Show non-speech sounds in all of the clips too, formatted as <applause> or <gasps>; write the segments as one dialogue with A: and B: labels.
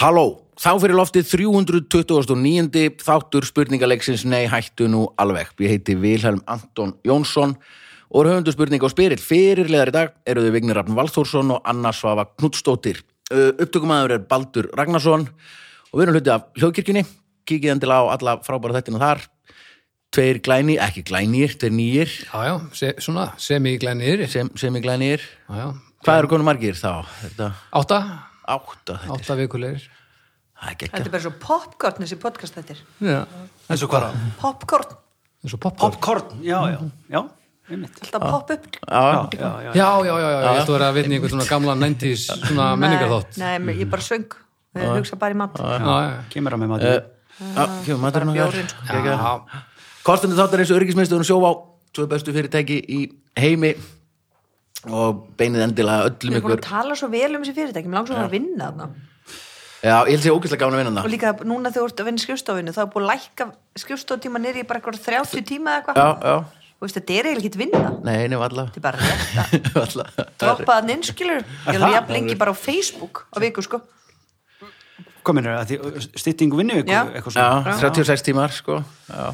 A: Halló, þá fyrir loftið 329. þáttur spurningaleiksins Nei, hættu nú alveg. Ég heiti Vilhelm Anton Jónsson og er höfundu spurning á spyrill. Fyrirlegar í dag eru þau Vignir Rafn Valþórsson og Anna Svava Knudstóttir. Upptökumæður er Baldur Ragnarsson og við erum hluti af hljóðkirkjunni. Kikið endilega á alla frábæra þettina þar. Tveir glæni, ekki glænir, tveir nýjir
B: Já, já, se, svona, semi-glænir
A: sem, sem er glænir.
B: Já, já,
A: Hvað eru konu margir þá? Er Þetta
B: átta,
A: átta, þetta er,
B: átta vikulegir
A: það er
C: Þetta
A: geggjað.
C: er bara svo popcorn þessi podcast þetta er.
B: Já,
D: eins og hvað,
C: Popcorn,
B: eins og popcorn
D: popcorn já, já, já, einmitt
C: alltaf pop upp.
A: Ah,
D: já, já, já,
B: Já, já, já, já, ég ætla að vera að vinna í einhvern svona gamla 90s svona menningarþátt
C: Nei, nei,
A: Mhm.
C: ég bara söng.
A: Ah,
C: Ég hugsa bara í mat.
B: Já, já,
D: kemur að með maður
A: Já, kemur maturinn
C: bara
A: okkar.
C: bjórinn, sko.
A: Geggjað.
B: já,
A: Kostandi þáttar eins og öryggismiðstöðun sjóvá tvö bestu fyrirtæki í heimi og beinið endilega
C: Við
A: öllum
C: erum
A: ykkur
C: búin að tala svo vel um þessi fyrirtæki, mér langt svo að vinna þarna.
A: Já, ég held sér ógæslega gána að vinna
C: Og
A: það
C: líka núna þegar þú ert að vinna í skrifstofinu, þá er búin að lækka skrifstoftíma nýri í bara eitthvað 30 tíma
A: Já,
C: eða eitthvað.
A: já,
C: Þú veist, þetta er eiginlega ekki vinna.
A: nei, nefn <laughs> alla
C: Þetta er bara rétt að
A: Alla
C: droppa þann innskilur. Ég er
D: það?
C: jafn lengi bara á Facebook á viku, sko.
D: komin er að því styttingu vinnu ykkur
C: Já.
D: eitthvað
A: Já,
D: svona
A: 36 tímar, sko Já,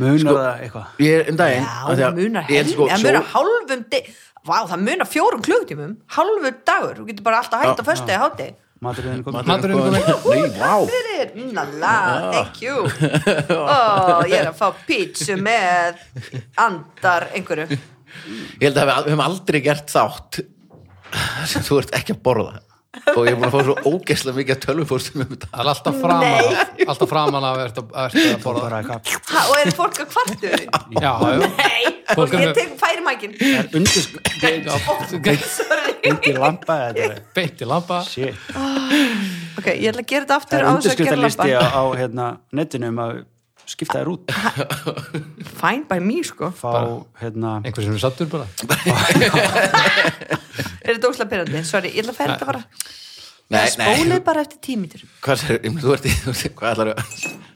D: munar það eitthvað
A: ég, um daginn
C: Já,
A: af því
C: það
A: að-
C: munar
A: ég held
C: helming,
A: sko,
C: það
A: sjó-
C: munar hálfum di- Vá, það munar fjórum klugtímum Hálfur dagur, þú getur bara alltaf hægt á föstu eða háti
D: maturinn komin
B: Maturinn kominn.
A: Nei, vá
C: Fyrir, nala, Mm, thank you Ó, ég er að fá pítsu með andar einhverju
A: Ég held að við- við höfum aldrei gert þátt <laughs> sem þú ert ekki að borða og ég er búin að fá svo ógæslega mikið að tölvupóstum um þetta
B: það er alltaf framan af- alltaf framan af ert að ert að borða
D: bara eitthvað
C: ha, Og er fólk að kvartu
B: <laughs> Já, já,
C: Nei,
B: Fólk
C: og
B: er
C: ég
B: með-
C: tek færi mækin
B: já,
C: Sorry
D: undir lampa þetta er
B: beint í lampa
D: shit
C: Ok, ég ætla að gera þetta
D: það
C: aftur
D: er
C: á þess að gera
D: undirskriftalisti á,
C: lappan
D: á hérna, netinu um að skipta þér út
C: Fine by me, sko
D: fá hérna
B: einhver sem er sattur bara
C: Er þetta óslega pyrrandi? Sorry, ég ætla að færa þetta bara
A: Nei, nei,
C: Spólið bara eftir tímítur
A: hvað sér, ég meina, þú ert í þú ert í- hvað ætlar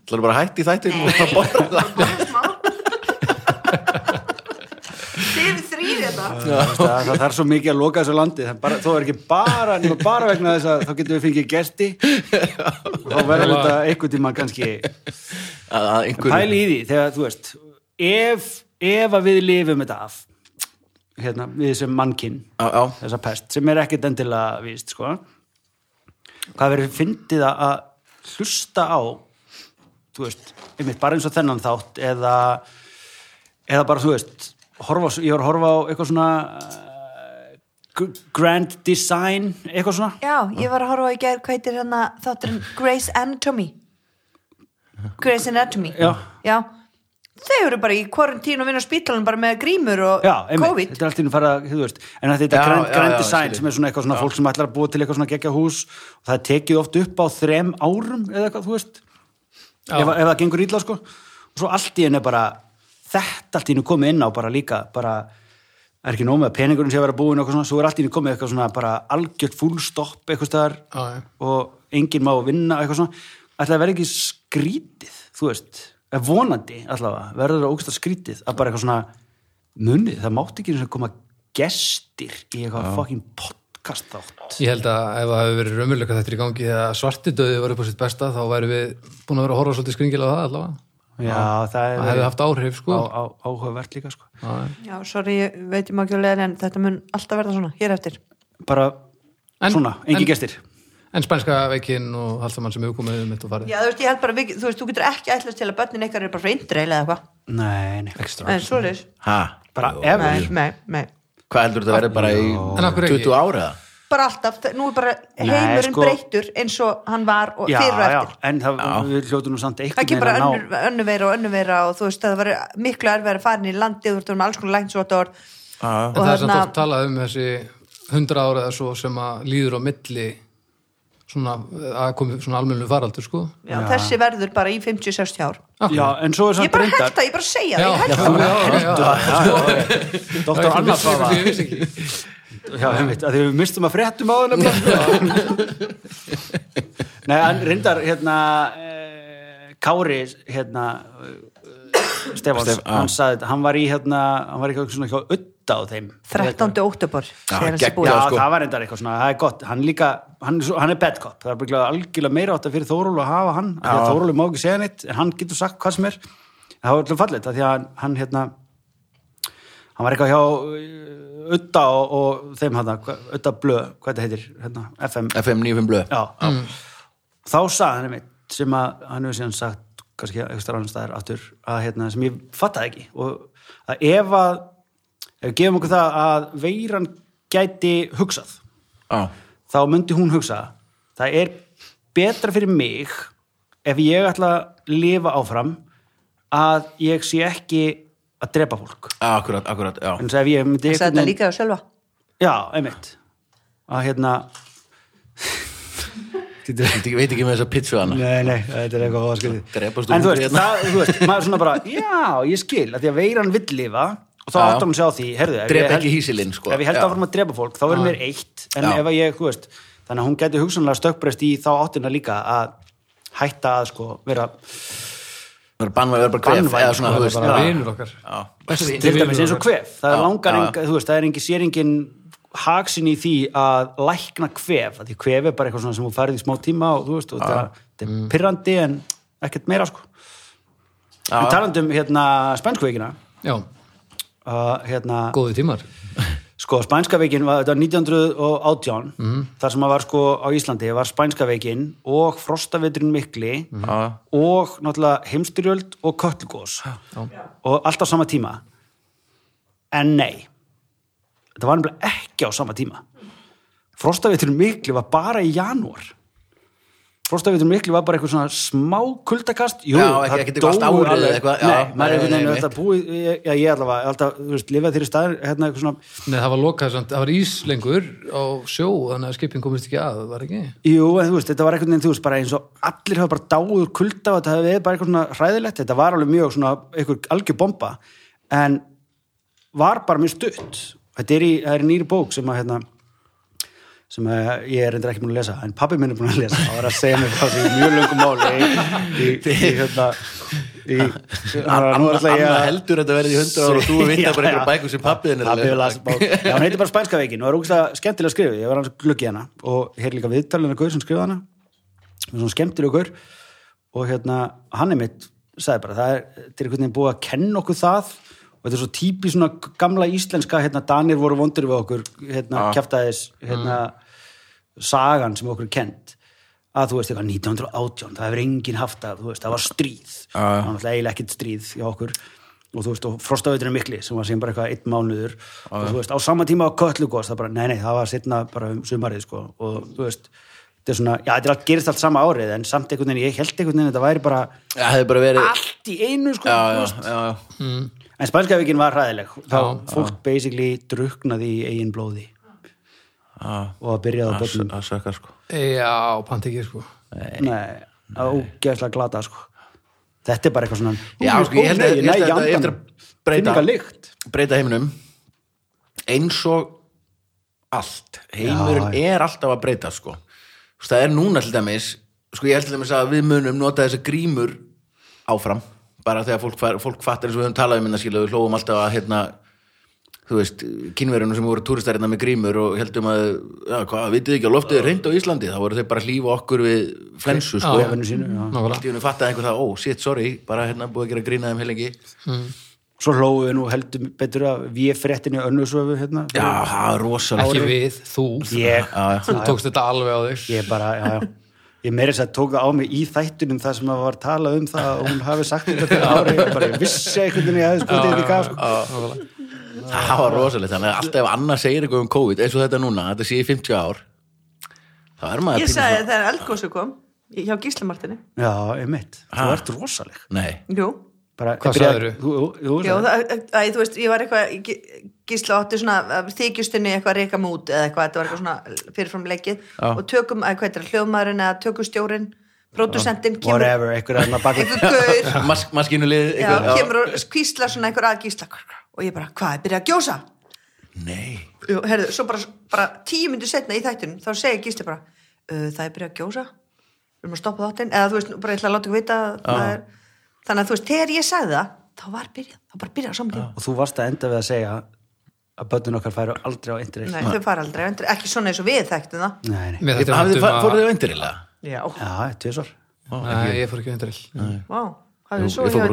A: þú bara að hætti þættir og að borða
C: Þið er þrýr þetta
D: það, það það þarf svo mikið að loka þessu landi það er bara, þó er ekki bara, nema bara vegna þess að þá getum við fengið gesti og þá verður þetta einhvern tíma kannski
A: að, að einhverju
D: pæli í því þegar þú veist ef, ef að við lifum þetta af hérna, við sem mannkinn
A: já, já,
D: þessa pest, sem er ekkert endilega víst, sko hvað verður fyndið að- að hlusta á þú veist, einmitt bara eins og þennan þátt eða, eða bara, þú veist horfa, á s- ég var að horfa á eitthvað svona eh, gr- grand design, eitthvað svona
C: Já, ég var að horfa á í gær hvað heitir hérna þátturinn Grey's Anatomy Grey's Anatomy
D: Já.
C: Þau eru bara í quarantín og vinna á spítalunum bara með grímur og
D: Já, einmitt,
C: COVID
D: þetta er allt í einu fara, þú veist, en að þetta
A: Já,
D: er grand,
A: já,
D: grand
A: já,
D: design
A: skilji.
D: sem er svona eitthvað svona fólk sem ætlar að búa til eitthvað svona geggja hús og það er tekið oft upp á þrem árum eða eitthvað, þú veist, ef, ef það gengur ítla, sko, og svo allt í henni bara, þetta allt í henni komið inn á bara líka, bara, er ekki nómið að peningurinn sé að vera búin og eitthvað svona, svo er allt í henni komið eitthvað svona bara algjört full stopp eitthvað staðar
B: Já, já.
D: og enginn má vinna eitthvað svona, ætlaði að vera ekki skrítið, þú veist, eða vonandi allavega, verður það ógsta skrítið að bara eitthvað svona munið, það mátti ekki eins og koma gestir í eitthvað fucking podcast þátt
B: Ég held að ef það hefur verið raumurleika þetta í gangi þegar svartidauði var upp á sitt besta þá væri við búin að vera að horfa svolítið skringilega á það allavega
D: Já, það
B: Það hefði
D: er
B: haft áhrif sko
D: á, á, áhugavert líka sko.
B: Já, já.
C: Já, sorry, ég veit ég má ekki að leiða en þetta mun alltaf verða svona, hér eftir
D: bara
B: En-
D: svona, engin
B: en-
D: gestir
B: En spænska veikinn og allt það mann sem hefur komið um þetta og farið
C: Já, þú veist, ég held bara, við- þú veist, þú getur ekki ætlast til að börnin ykkar eru bara freindreil eða eitthvað
D: Nei, nei,
B: Extra.
C: En svo leis,
A: ha,
D: bara
C: nei,
D: ef
C: nei, nei
A: hvað heldur þetta verið bara í
B: En af hverju ekki?
A: 20 ára
C: bara alltaf, þe- nú er bara
D: Nei,
C: heimurinn
D: sko-
C: breyttur eins og hann var og
D: Já,
C: fyrir og
D: já,
C: eftir
D: en það,
A: Já.
D: við hljótum nú samt einhvern
C: ekki bara
D: veginn að ná-
C: önnur, önnur veira og önnur veira og þú veist, það var miklu erfið að fara inn í landi þú veist, þú erum alls konar læknisvottor
A: Já,
B: En það er samt
C: hérna-
B: oft talað um þessi hundra ára eða svo sem að líður á milli svona að komi svona almennu faraldur sko
C: já, þessi verður bara í 50-60 ár
D: Já, en svo er
C: ég
D: samt
C: er bara
D: reyndar
C: hægt að, ég er bara að segja
B: Já,
C: það, ég
B: já,
C: hægt
B: já, já, já.
D: Dr. Anna Svava
B: Ég vissi ekki
D: Já, einmitt, að því við mistum að fréttum á hennar Nei, en reyndar hérna eh, Kári hérna eh, Stefáns,
A: Stef- á.
D: hann sagði þetta, hann var í hérna, hann var í eitthvað svona hjá öll enda á þeim
C: 13. oktober
A: Já,
C: segir þessi
D: Já,
A: geggjað.
C: búið.
A: sko.
D: það var reyndar eitthvað svona, það er gott hann, líka, hann, er svo- hann er bad cop, það er bygglega algjörlega meira átt að fyrir Þóról að hafa hann af því að
A: Já.
D: Þóról má ekki segja neitt, en hann getur sagt hvað sem er það var alltaf fallið, af því að hann, hann hérna hann var eitthvað hjá eh, Udda og, og þeim hann Udda Blö, hvað þetta heitir hérna, FM,
A: FM 95 blöð
D: já,
C: Mm.
D: þá sagði hann einmitt sem að hann hefur síðan sagt kannski eitthvað starf annar staðar aftur að hérna, sem ég fattaði ekki og að ef að ef við gefum okkur það að veiran gæti hugsað
A: Já,
D: þá myndi hún hugsa það er betra fyrir mig ef ég ætla að lifa áfram að ég sé ekki að drepa fólk
A: akkurat, akkurat, já
D: en ef ég myndi
C: Ég
D: einhvern
C: sagði þetta
D: veginn-
C: líka á sjálfa
D: já, einmitt að hérna
A: Ég veit ekki- veit ekki með þessa pizzu hana
D: Nei, nei, þetta er eitthvað óskildið.
A: Drepast
D: En þú
A: ungri
D: veist,
A: hérna.
D: það, þú veist, maður er svona bara, já, ég skil, að því að veiran vill lifa og þá
A: Já.
D: áttar hún sig á því, herðu, ef
A: Drepa
D: ég held-
A: ekki hýsilinn, sko.
D: Ef ég held
A: Já.
D: áfram að drepa fólk, þá er mér eitt, en
A: Já.
D: ef að ég, þú veist, þannig að hún gæti hugsanlega stökkbreyst í þá áttina líka að hætta að, sko, vera,
A: Það er bannvæð, það er bara gref
D: Banvæn,
A: eða svona,
D: sko,
A: þú
B: það
A: veist
B: er bara
A: já.
B: vinur okkar
A: Já, besti
D: til
A: vinur.
D: dæmis eins og kvef, það
A: Já,
D: er langar,
A: já.
D: enga, þú veist, það er engin, sér engin haksin í því að lækna kvef, að því kvef er bara eitthvað svona sem þú færið í smá tíma og, þú veist, og það, það er pirrandi en ekkert meira, sko.
A: Já,
D: En
A: já.
D: talandum hérna spænskveikina
B: já,
D: uh, hérna,
B: góði tímar
D: sko spænska veikin var, þetta var 1918 þar sem að var sko á Íslandi var spænska veikin og frostaveturinn mikli
A: Já.
D: og náttúrulega heimstyrjöld og köllugós og allt á sama tíma en nei þetta var nefnilega ekki á sama tíma frostaveturinn mikli var bara í janúar frostaveturinn mikli var bara eitthvað svona smá kuldakast jú,
A: Já, ekki- ekki
D: það
A: eitthvað allt
D: dóu
A: árið eða eitthvað, já.
D: nei, maður er
A: Nei,
D: einhvern veginn
A: nei,
D: alltaf búið, já, ég allavega ég alltaf, þú veist, lifað þeirri stað hérna eitthvað svona,
B: Nei, það var lokað samt, það var ís lengur á sjó, þannig að skipin komist ekki að, var ekki?
D: jú, en þú veist, þetta var einhvern veginn þú veist, bara eins og allir hafa bara dáður kulda og þetta hefði verið bara eitthvað svona hræðilegt þetta var alveg mjög svona, einhver algjör bomba en var bara mjög stutt þetta er í, það er í nýri bók sem að hérna sem að ég er reyndar ekki búin að lesa en pappi minn er búin að lesa og er að segja mér það sem mjög löngum máli í, í, í, í hérna í, nú
A: Anna
D: er alltaf ég
A: Anna
D: að
A: heldur þetta verði í 100 ára og þú
D: Já,
A: vinnar bara einhverja
D: já.
A: bækur sem pappið hennar
D: Pabbi hefur lasið bók. Já, hún heitir bara Spænska veikin og er úkstlega skemmtilega að skrifa. Ég var hans gluggi hana og hér er líka viðtalina gaur sem skrifa hana. Hún er svona skemmtilega gaur og hérna, hann er mitt, sagði bara, það er, þetta er einhvern veginn búið að kenna okkur það og þetta er svo típi svona gamla íslenska, hérna, Danir voru vondur við okkur, hérna, kjaftaðis, hérna, sagan sem okkur er kent að þú veist eitthvað 1918, það hefur enginn haft það, þú veist, það var stríð
A: Já, já.
D: það var náttúrulega eiginlega ekkert stríð hjá okkur og þú veist, og frostaveiturinn mikli sem var sem bara eitthvað einn mánuður og þú veist, á sama tíma á köllugos, það bara, nei, nei, það var setna bara um sumarið, sko, og þú veist þetta er svona, já, þetta er allt gerist allt sama árið en samt einhvern veginn, ég held einhvern veginn að þetta væri bara
A: Það hefði bara verið
D: allt í einu, sko,
A: Já,
D: þú
A: já,
D: veist.
A: já, já.
D: en spænskavíkin var hræðileg þá
B: Já,
D: fólk basically druknaði í eigin blóði
A: Já,
D: og byrjaði á
A: það
D: börnum
A: sö- það sökkar sko
B: Já, pant ekki, sko.
D: Nei, það var ógeðslega glata sko. Þetta er bara eitthvað svona
A: Já,
D: Ú,
A: sko, ég held að-
D: nei,
A: ég held
D: nei,
A: að þetta
D: í
A: eigi eftir
D: andanum.
A: að breyta.
D: Finn eitthvað lykt.
A: Breyta heiminum eins og allt Heimurinn er alltaf að breyta sko Þú veist, Það er núna til dæmis sko ég held til dæmis að við munum nota þessa grímur áfram bara þegar fólk, far- fólk fattar eins og við höfum talað um hérna skilja við hlófum alltaf að hérna þú veist, kynverjunum sem voru túristarina með grímur og heldum að, já, hvað, vitið ekki að loftið er reynd á Íslandi, þá voru þeir bara að hlífa okkur við flensu, sko
B: Já,
D: Vinnu sínu, já.
B: Nákvæmlega.
A: Allt í hennu fattaði einhver það, ó, shit, sorry, bara hérna búið að gera grína þeim heilengi.
D: Svo hlóðu við nú heldur betur að við fréttinu önnusöfu hérna
A: Já, það er
B: Ekki
A: rosalega.
B: við, þú.
D: Ég,
B: Þú tókst þetta alveg á þig.
D: ég bara, já, já Ég meiri þess að tóka á mig í þættunum það sem að var talað um það og hún hafi sagt þetta fyrir ári og bara ég vissi einhvern veginn að ég hefði spurt þetta í gaf sko.
B: Nákvæmlega.
A: Það var rosalega, þannig að alltaf ef annað segir eitthvað um COVID, eins og þetta núna, þetta sé í 50 ár, þá er maður
C: Ég
A: pínu
C: sagði
A: svona-
C: þegar eldgósu kom hjá Gíslamartinni
D: Já, ég mitt, þú
A: Ha.
D: ert rosaleg
A: Nei,
C: Jú,
D: bara,
B: Hvað
D: byrja-
B: sagðirðu?
D: Þú, þú, þú,
C: Jú það, að, þú veist, ég var eitthvað Gí- Gísla átti svona af þykjustinni eitthvað reyka mút eða eitthvað, þetta var eitthvað svona fyrirfram leikið og tökum, að, hvað er það, hljóðmaðurinn eða tökustjórin, pródusentinn kemur,
D: whatever, einhver er að baka
C: einhver
A: <laughs>
C: gaur
A: Mas, maskínulið,
C: já,
A: eitthvað.
C: kemur og kvísla svona einhver að Gísla og ég bara, hvað, er byrjað að gjósa?
A: Nei,
C: Jú, herðu, svo bara, bara tíu myndir setna í þættunum þá segir Gísli bara "Uh, það er byrjað að gjósa við erum að stoppa þáttinn eða þú veist, bara ég ætla að láta ykkur vita að það er... þannig að þú veist, þegar ég sagði það þá var byrjað, þá bara byrjað saman tíma
D: og þú varst að enda við að segja að börnin okkar færu aldrei á interrail
C: Nei, þau fara aldrei, á undir- ekki svona eins og við þekktum það
D: nei, nei.
B: Mér þetta
A: Hafið
B: vænt um
A: þið-
B: að-
A: Fóruð þið á endurilega?
C: Já,
D: já, tvisvar
B: Nei, ég fór ekki vindrill.
C: vá, hafið þið svo hjá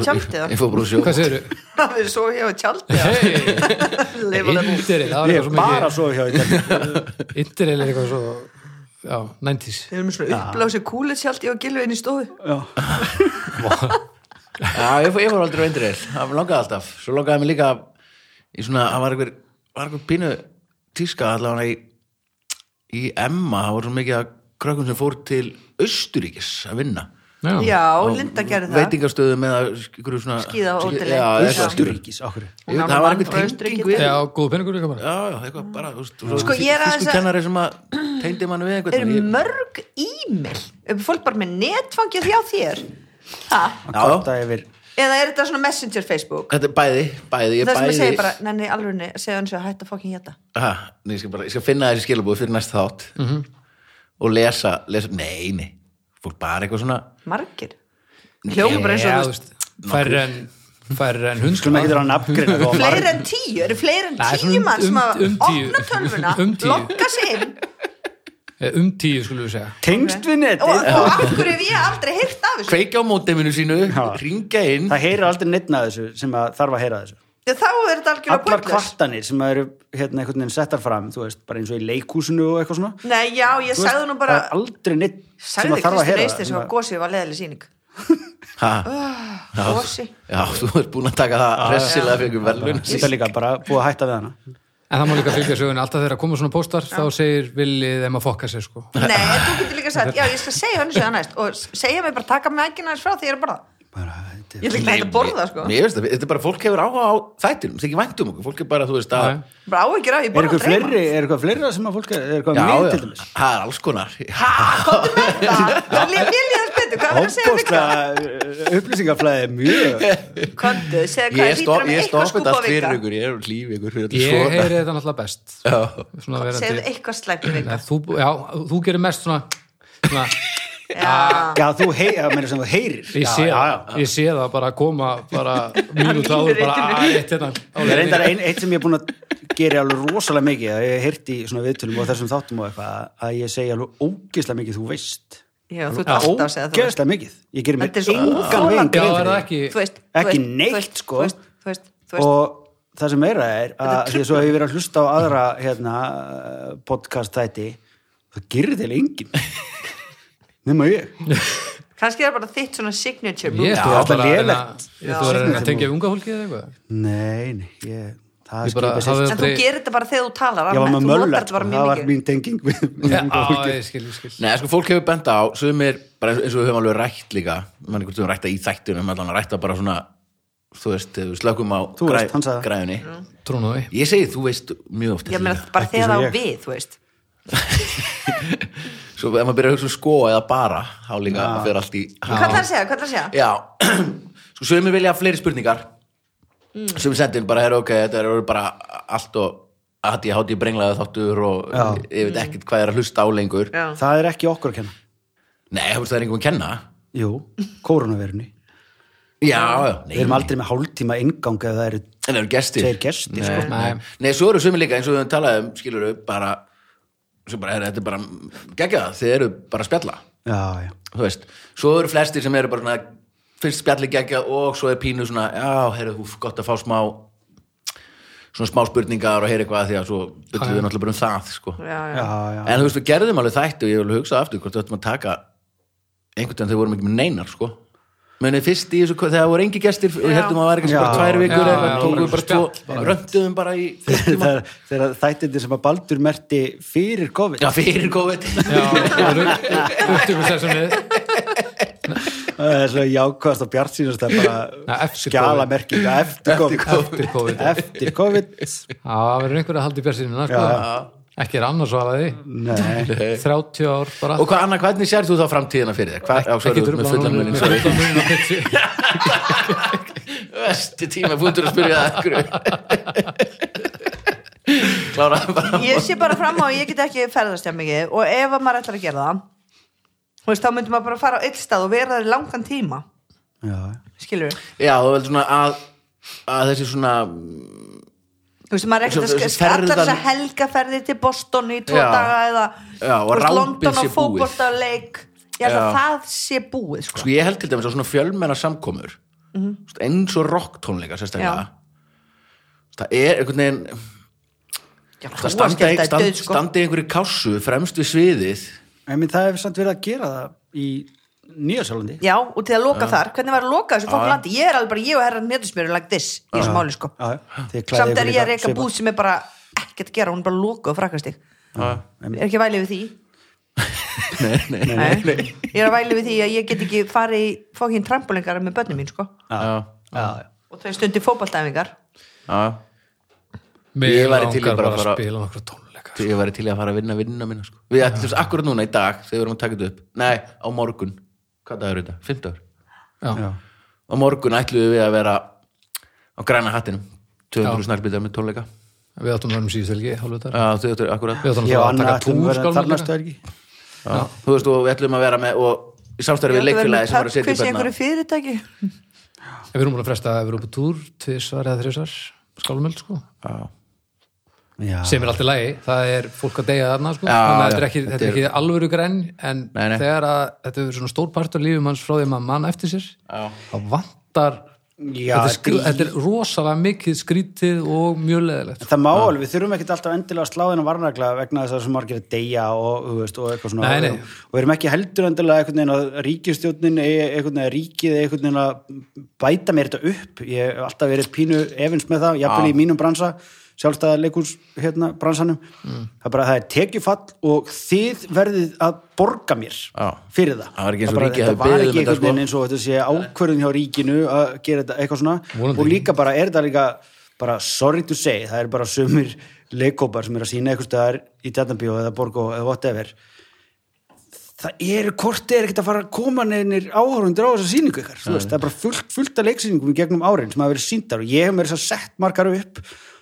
A: Ég
C: tjaldið <laughs> það?
A: fór bara að sjó
B: Hvað segirðu?
C: Hafið þið svo hjá tjaldið
A: <laughs>
C: það? Lifa það nú.
B: Indrill, það var
D: ég er
B: eitthvað svo
D: bara
B: mikið.
D: svo hjá interrail
B: Indrill er eitthvað svo, já, 90s.
C: Við erum með svona uppblásið kúlið tjaldið og gilvið inn í stofu
A: Já, ég fór, ég fór aldrei á Indriðil, það langaði alltaf svo langaði mig líka í svona, það var einhver, var einhver pínu tíska allavega í, í Emma, það var svo mikið að krökkum sem fór til Östuríkis að vinna
C: Já, Linda gerði það
A: veitingastöðum eða ykkur svona
C: Skíða á hóteli.
A: Já, eitthvað.
D: Östuríkis, okkur
A: Ég veit,
C: Hún
A: það var
C: á mann frá
A: einhver
C: Austurríki.
A: tenging við
B: Já, góð peningur líka bara.
A: Já, já, eitthvað bara, þú veist,
C: Sko, ég er aðeins
A: físku
C: að-
A: kennari sem að tengdi mann við
C: eru
A: einhvern ég-
C: mörg e-mail eru fólk bara með netfangja þjá þér ha?
A: Já,
D: kvarta yfir
C: eða er þetta svona messenger facebook
A: þetta er bæði, bæði, ég
C: það sem
A: bæði
C: að segja bara, nenni alveg segja hann svo að hætta fokkin hérna
A: Aha, nei, ég, skal bara, ég skal finna þessi skilabúð fyrir næst þátt
D: Mhm.
A: og lesa, lesa nei, nei, fólk bara eitthvað svona
C: margir hljóma bara eins
B: Já,
C: og
B: þú
C: þú veist,
B: veist, færri en, færri en hundra.
D: skulum ekki þér að nafngreina þó að
C: fleiri
D: marg-
C: en tíu eru fleiri en
B: Nei,
C: tíu
B: svona um-
C: mann sem
B: um-
C: að
B: um tíu.
C: opna tölvuna
B: Um tíu.
C: lokka sig inn
B: Eh, Um tíu, skulum við segja.
D: tengst við
C: og,
D: netið
C: og af hverju hef ég aldrei heyrt af þessu
A: kveikja á móteminu sínu,
D: Já.
A: ringja inn
D: það heyrir aldrei neittna þessu sem að þarf að heyra þessu
C: Já, þá er þetta algjörlega
D: allar
C: pointless
D: kvartanir sem að eru hérna einhvern veginn settar fram þú veist, bara eins og í leikúsinu og eitthvað svona
C: nei, já, ég
D: Þú veist,
C: sagði nú bara
D: það er aldrei neitt sem
C: sagði
D: að þarf að
C: Kristján
D: heyra
C: Eistir
D: sem
C: sem að
D: að-
C: gósið var leðileg síning
A: ha,
C: Ah,
A: já,
C: gósi
A: já, þú ert búin að taka það
D: Ah.
A: hressilega fyrir ykkur verðlun
D: Þetta er líka bara búið að hætta við hana
B: En það má líka fylgja sögunni, alltaf þegar að koma svona póstar, þá segir villið þeim að fokka sér, sko.
C: Nei, en þú getur líka sagt, já, ég skal segja hann segja næst og segja mig bara, taka mækina þess frá því ég er bara,
D: bara, þetta
C: ég
D: er-
C: ætla ekki að hægt að borða, sko
A: Mér veist það, þetta er bara, fólk hefur áhuga á þættinum það er ekki vænt um okkur, fólk er bara, þú veist að
B: Nei.
C: Bara á ekki ráð, ég
D: er
C: borða
D: eitthvað
C: að dreyma
D: fleiri er eitthvað fleira sem að fólk er er eitthvað
A: já,
D: með
A: já,
D: til dæmis
A: það er alls konar
C: Ha, komdu með
A: <laughs>
C: það, það er mjög líðast betur, hvað er að segja um við
D: Óbóðslega upplýsingaflæði er mjög
C: hvað? Komdu, segja
A: ég
C: hvað er hýttur
A: stopp
C: um
A: ég
C: eitthvað
A: stopp
C: skúpa
A: þetta
C: á
A: fyrir
C: vika
A: ykkur, ég er um lífi ykkur fyrir
B: Ég
A: þetta
B: heyri þetta náttúrulega best.
A: svona
B: Svona
C: Segðu
B: verandi.
C: eitthvað slæmt um í vika
B: Nei, þú, já, þú gerir mest svona, svona
C: Já,
D: <laughs> Já, þú heyrir, það meira sem þú heyrir
B: ég, sé,
D: já, já,
B: ég sé það bara að koma bara
C: <laughs>
B: mínútu áður bara að eitt hérna á
D: Ég
B: leiðinni.
D: reyndar ein, eitt sem ég er búin að gera alveg rosalega mikið, að ég hef heyrt í svona viðtölum og þessum þáttum og eitthvað, að ég segja alveg ógeðslega mikið, þú veist.
C: já, þú ert alltaf að segja þú veist
D: Ógeðslega mikið. Ég gerir mig
C: Þetta er svo
D: engan
C: óþolandi.
D: veginn
B: Já,
D: grein fyrir
B: er
D: því.
B: það ekki
C: Þú veist, þú
D: Ekki
C: veist, þú
D: neitt,
C: veist,
D: sko.
C: Þú veist, þú veist, þú veist
D: Og það sem meira er, að því að svo hef ég verið að hlusta á aðra hérna, podcast þætti, það gerir til
C: <laughs>
D: enginn. Nefna ég.
C: Kannski er bara þitt svona signature
B: Ég
C: move
B: ætti
D: Já,
B: alltaf
D: bara
B: að reyna
D: lélegt.
B: ég ætti að reyna
D: Já.
B: að tengja við unga fólki eða eitthvað
D: Nei, nei, ég, það
B: Ég bara
D: skipið sér.
B: hafði-
C: En þú gerir þetta bara þegar þú talar
D: Ég var
C: annað-
D: með
C: þú notar
D: möllert,
C: þetta
D: sko,
C: bara mjög
D: það var
C: mikið.
D: mín tenging við við unga
B: Já,
D: fólkið.
B: ég skil, ég skil
A: Nei, sko, fólk hefur benda á, sumir, bara eins og við höfum alveg rætt líka, mann einhvern veginn rætta í þættunum, allan að rætta bara svona, þú veist, þegar við slökum á
D: Þú veist, hann sagði það.
A: græðunni.
B: Trúnaði
A: Ég segi, þú veist, mjög oft.
C: Ég meina
A: Lína.
C: bara
D: Ekki
C: þegar
D: sem
C: það á
D: ég.
C: við, þú veist
A: Svo ef maður byrjar að hugsa um sko eða bara, þá líka ja. fyrir allt í...
C: Hvað það er að segja, hvað það er að segja?
A: Já, <clears throat> sko, sumir vilja fleiri spurningar,
C: Mm.
A: sumir sendin bara, herra, ok, þetta eru bara allt og að ég hátt ég brenglaði þáttur og
D: Já.
A: ég veit ekkert hvað er að hlusta á lengur.
C: Já.
D: Það er ekki okkur að kenna.
A: Nei, þú veist, það er einhverjum að kenna.
D: Jú, koronaverunni.
A: Já, já, nei,
D: Við erum aldrei með hálftíma ingang ef það eru
A: En það eru gestir.
D: Tveir gestir,
A: nei,
D: sko.
A: Nei. nei, svo eru sumir líka eins og við höfum talað um, skilur við, bara, sem bara, er, þetta er bara, gegja það, þið eru bara að spjalla,
D: já, já.
A: þú veist. Svo eru flestir sem eru bara svona, fyrst spjalli gegja og svo er pínu svona, já, heyrðu, húf, gott að fá smá, svona smá spurningar og heyra eitthvað því að svo byllum við náttúrulega bara um það, sko.
C: Já, já.
D: Já, já.
A: En þú veist, við gerðum alveg þætti og ég vil hugsa aftur hvort við ættum að taka einhvern veginn þegar við vorum ekki með neinar, sko. Menið fyrst í þessu, þegar voru engi gestir og
C: Já.
A: heldum að það var ekki bara
D: Já.
A: tvær vikur
B: Já,
A: eða
B: já,
A: tókum við
B: bara
A: bara tvo, rönduðum bara í þrjum
D: <laughs> þegar, þegar þættindir sem að Baldur merti fyrir COVID
A: <laughs> Já, fyrir COVID
B: Já, upptökum þessum við
D: það er svo jákvæðast og bjart sínast að
B: Nei,
D: bara
B: eftir
D: skjala
B: COVID.
D: merking eftir COVID
B: Eftir COVID
D: eftir COVID
B: Já, það verður einhver að haldi björnsýnina sko. Ekki er annars svaraði
D: nei,
B: 30 ár bara
A: <laughs> Og hvað, Anna, hvernig sér þú þá framtíðina fyrir þér? Hvað, já, svo
B: Ekki
A: erum við með
B: trufla
A: fullan
B: núna
A: munnin
B: með fullan muninn á
A: <laughs>
B: pitsi.
A: Vesti tíma, búintur að spyrja það ekkur <laughs> Klára bara
C: Ég sé bara fram á að ég get ekki ferðast hjá mikið og ef að maður ætlar að gera það þú veist, þá myndum maður bara fara á eitt stað og vera það í langan tíma
D: já,
C: skilur við
A: Já, þú veldur svona að, að þessi svona mm,
C: Þú veist, maður er ekkert
A: Svo-
C: að
A: svo
C: skalla
A: ferðan-
C: þess að helgaferði til Boston í tvo
A: Já.
C: daga eða
A: Já, og
C: þú veist,
A: rámbið
C: London
A: sé
C: á
A: búið.
C: fótboltaleik Ég held
A: Já.
C: að það sé búið, sko.
A: sko ég held til dæmis að svona fjölmennar samkomur eins og rocktónleika sérstaklega
C: Já.
A: það er einhvern veginn
C: Já,
A: það
C: hrúgaskemmta
A: standi,
C: er
A: stand,
C: dauð, sko.
A: standi einhverju kásu fremst við sviðið <laughs>
D: En minn, það hefur samt verið að gera það í Nýjasjálandi.
C: Já, og til að loka þar, hvernig var að loka þessu fólk
A: Já.
C: landi? Ég er alveg bara, ég og herran netusmjöru like this í þessu máli, sko.
D: Já, þið klæðið
C: Samt
D: ykkur
C: er
D: í
C: ég að
D: það
C: reyka
D: svipað.
C: búð sem er bara ekkert að gera, hún er bara lokuð og frakkast þig. Er ekki að væli við því?
A: nei, nei, nei,
C: Nei. Ég er að væli við því að ég get ekki farið í fókin trampolingar með börnum mín, sko.
A: Já,
D: Já, já.
C: Og það er stundi fótballtæfingar.
A: já.
B: Mér
A: Ég væri til í
B: langar
A: bara
B: bara
A: að
B: að
A: fara-
B: spila nokkra tónleika
A: Því ég væri til í að fara að vinna vinnuna minna sko. við ætlum akkur núna í dag þegar við erum að taka þetta upp nei, á morgun, hvað dagur er þetta? 50
B: Já.
D: Já.
A: á morgun ætlum við að vera á græna hattinum 200 snarbytar með tónleika
B: Við áttum örum síðust helgi, hálfur þetta
A: Já, þau áttu akkurat
B: Við áttum
D: Ég
B: náttúrulega
D: og Anna ætlum að vera
B: að taka túrskálum
D: þar
B: líka.
D: næstu helgi.
A: Já. þú veist, og við ætlum að vera með og í samstæri við leikfélagi sem var að setja
C: Hversu
A: upp
C: einhverju
A: hérna
C: fyrirtæki?
B: En Við erum búin að fresta að við erum upp á túr tvisvar eða þrisvar skálumöld sko
A: Já.
D: Já.
B: sem er alltaf lægi, það er fólk að deyja þarna sko,
A: Já,
B: þannig að þetta
A: já,
B: er ekki, þetta
A: þetta
B: er
A: er-
B: ekki alvöru grenn en
A: Nei, nei.
B: þegar að þetta er svona stór partur lífum hans frá því að maður mann eftir sér
A: Já.
B: þá vantar
D: Já,
B: þetta, er skr...
D: þetta í-
B: þetta er rosalega mikið skrítið og mjög sko. leðilegt
D: Það má alveg, við þurfum ekkert alltaf endilega að slá þennan varnagla vegna þess að sem margir að deyja og, þú veist, og eitthvað svona
B: Nei, nei.
D: og við erum ekki heldur endilega einhvern veginn að ríkistjónin einhvern veginn að ríkið eigi einhvern veginn að bæta mér þetta upp ég hef alltaf verið pínu efins með það jafnvel í mínum bransa, sjálfstæða leikurs hérna, bransanum,
A: Mm.
D: það er bara það er tekjufall og þið verðið að borga mér
A: Já.
D: fyrir það
A: Það var ekki eins og
D: bara-
A: ríkið hafi
D: þetta var
A: beðið um
D: ekki
A: þetta,
D: einhvern
A: sko.
D: veginn eins og þetta sé ákvörðun hjá ríkinu að gera þetta eitthvað svona
B: Vonandi
D: og
B: ekki.
D: líka bara, er þetta líka bara sorry to say, það er bara sumir leikópar sem er að sína eitthvað staðar í Tjarnabíó eða Borgó eða whatever það eru korti er ekkert að fara að koma neðinir áhörundur á þessa síningu ykkar, þú veist, það er bara fullt, fullt af leiksýningum í gegnum árin sem hafa verið síndar og ég hef mér þess að sett margar upp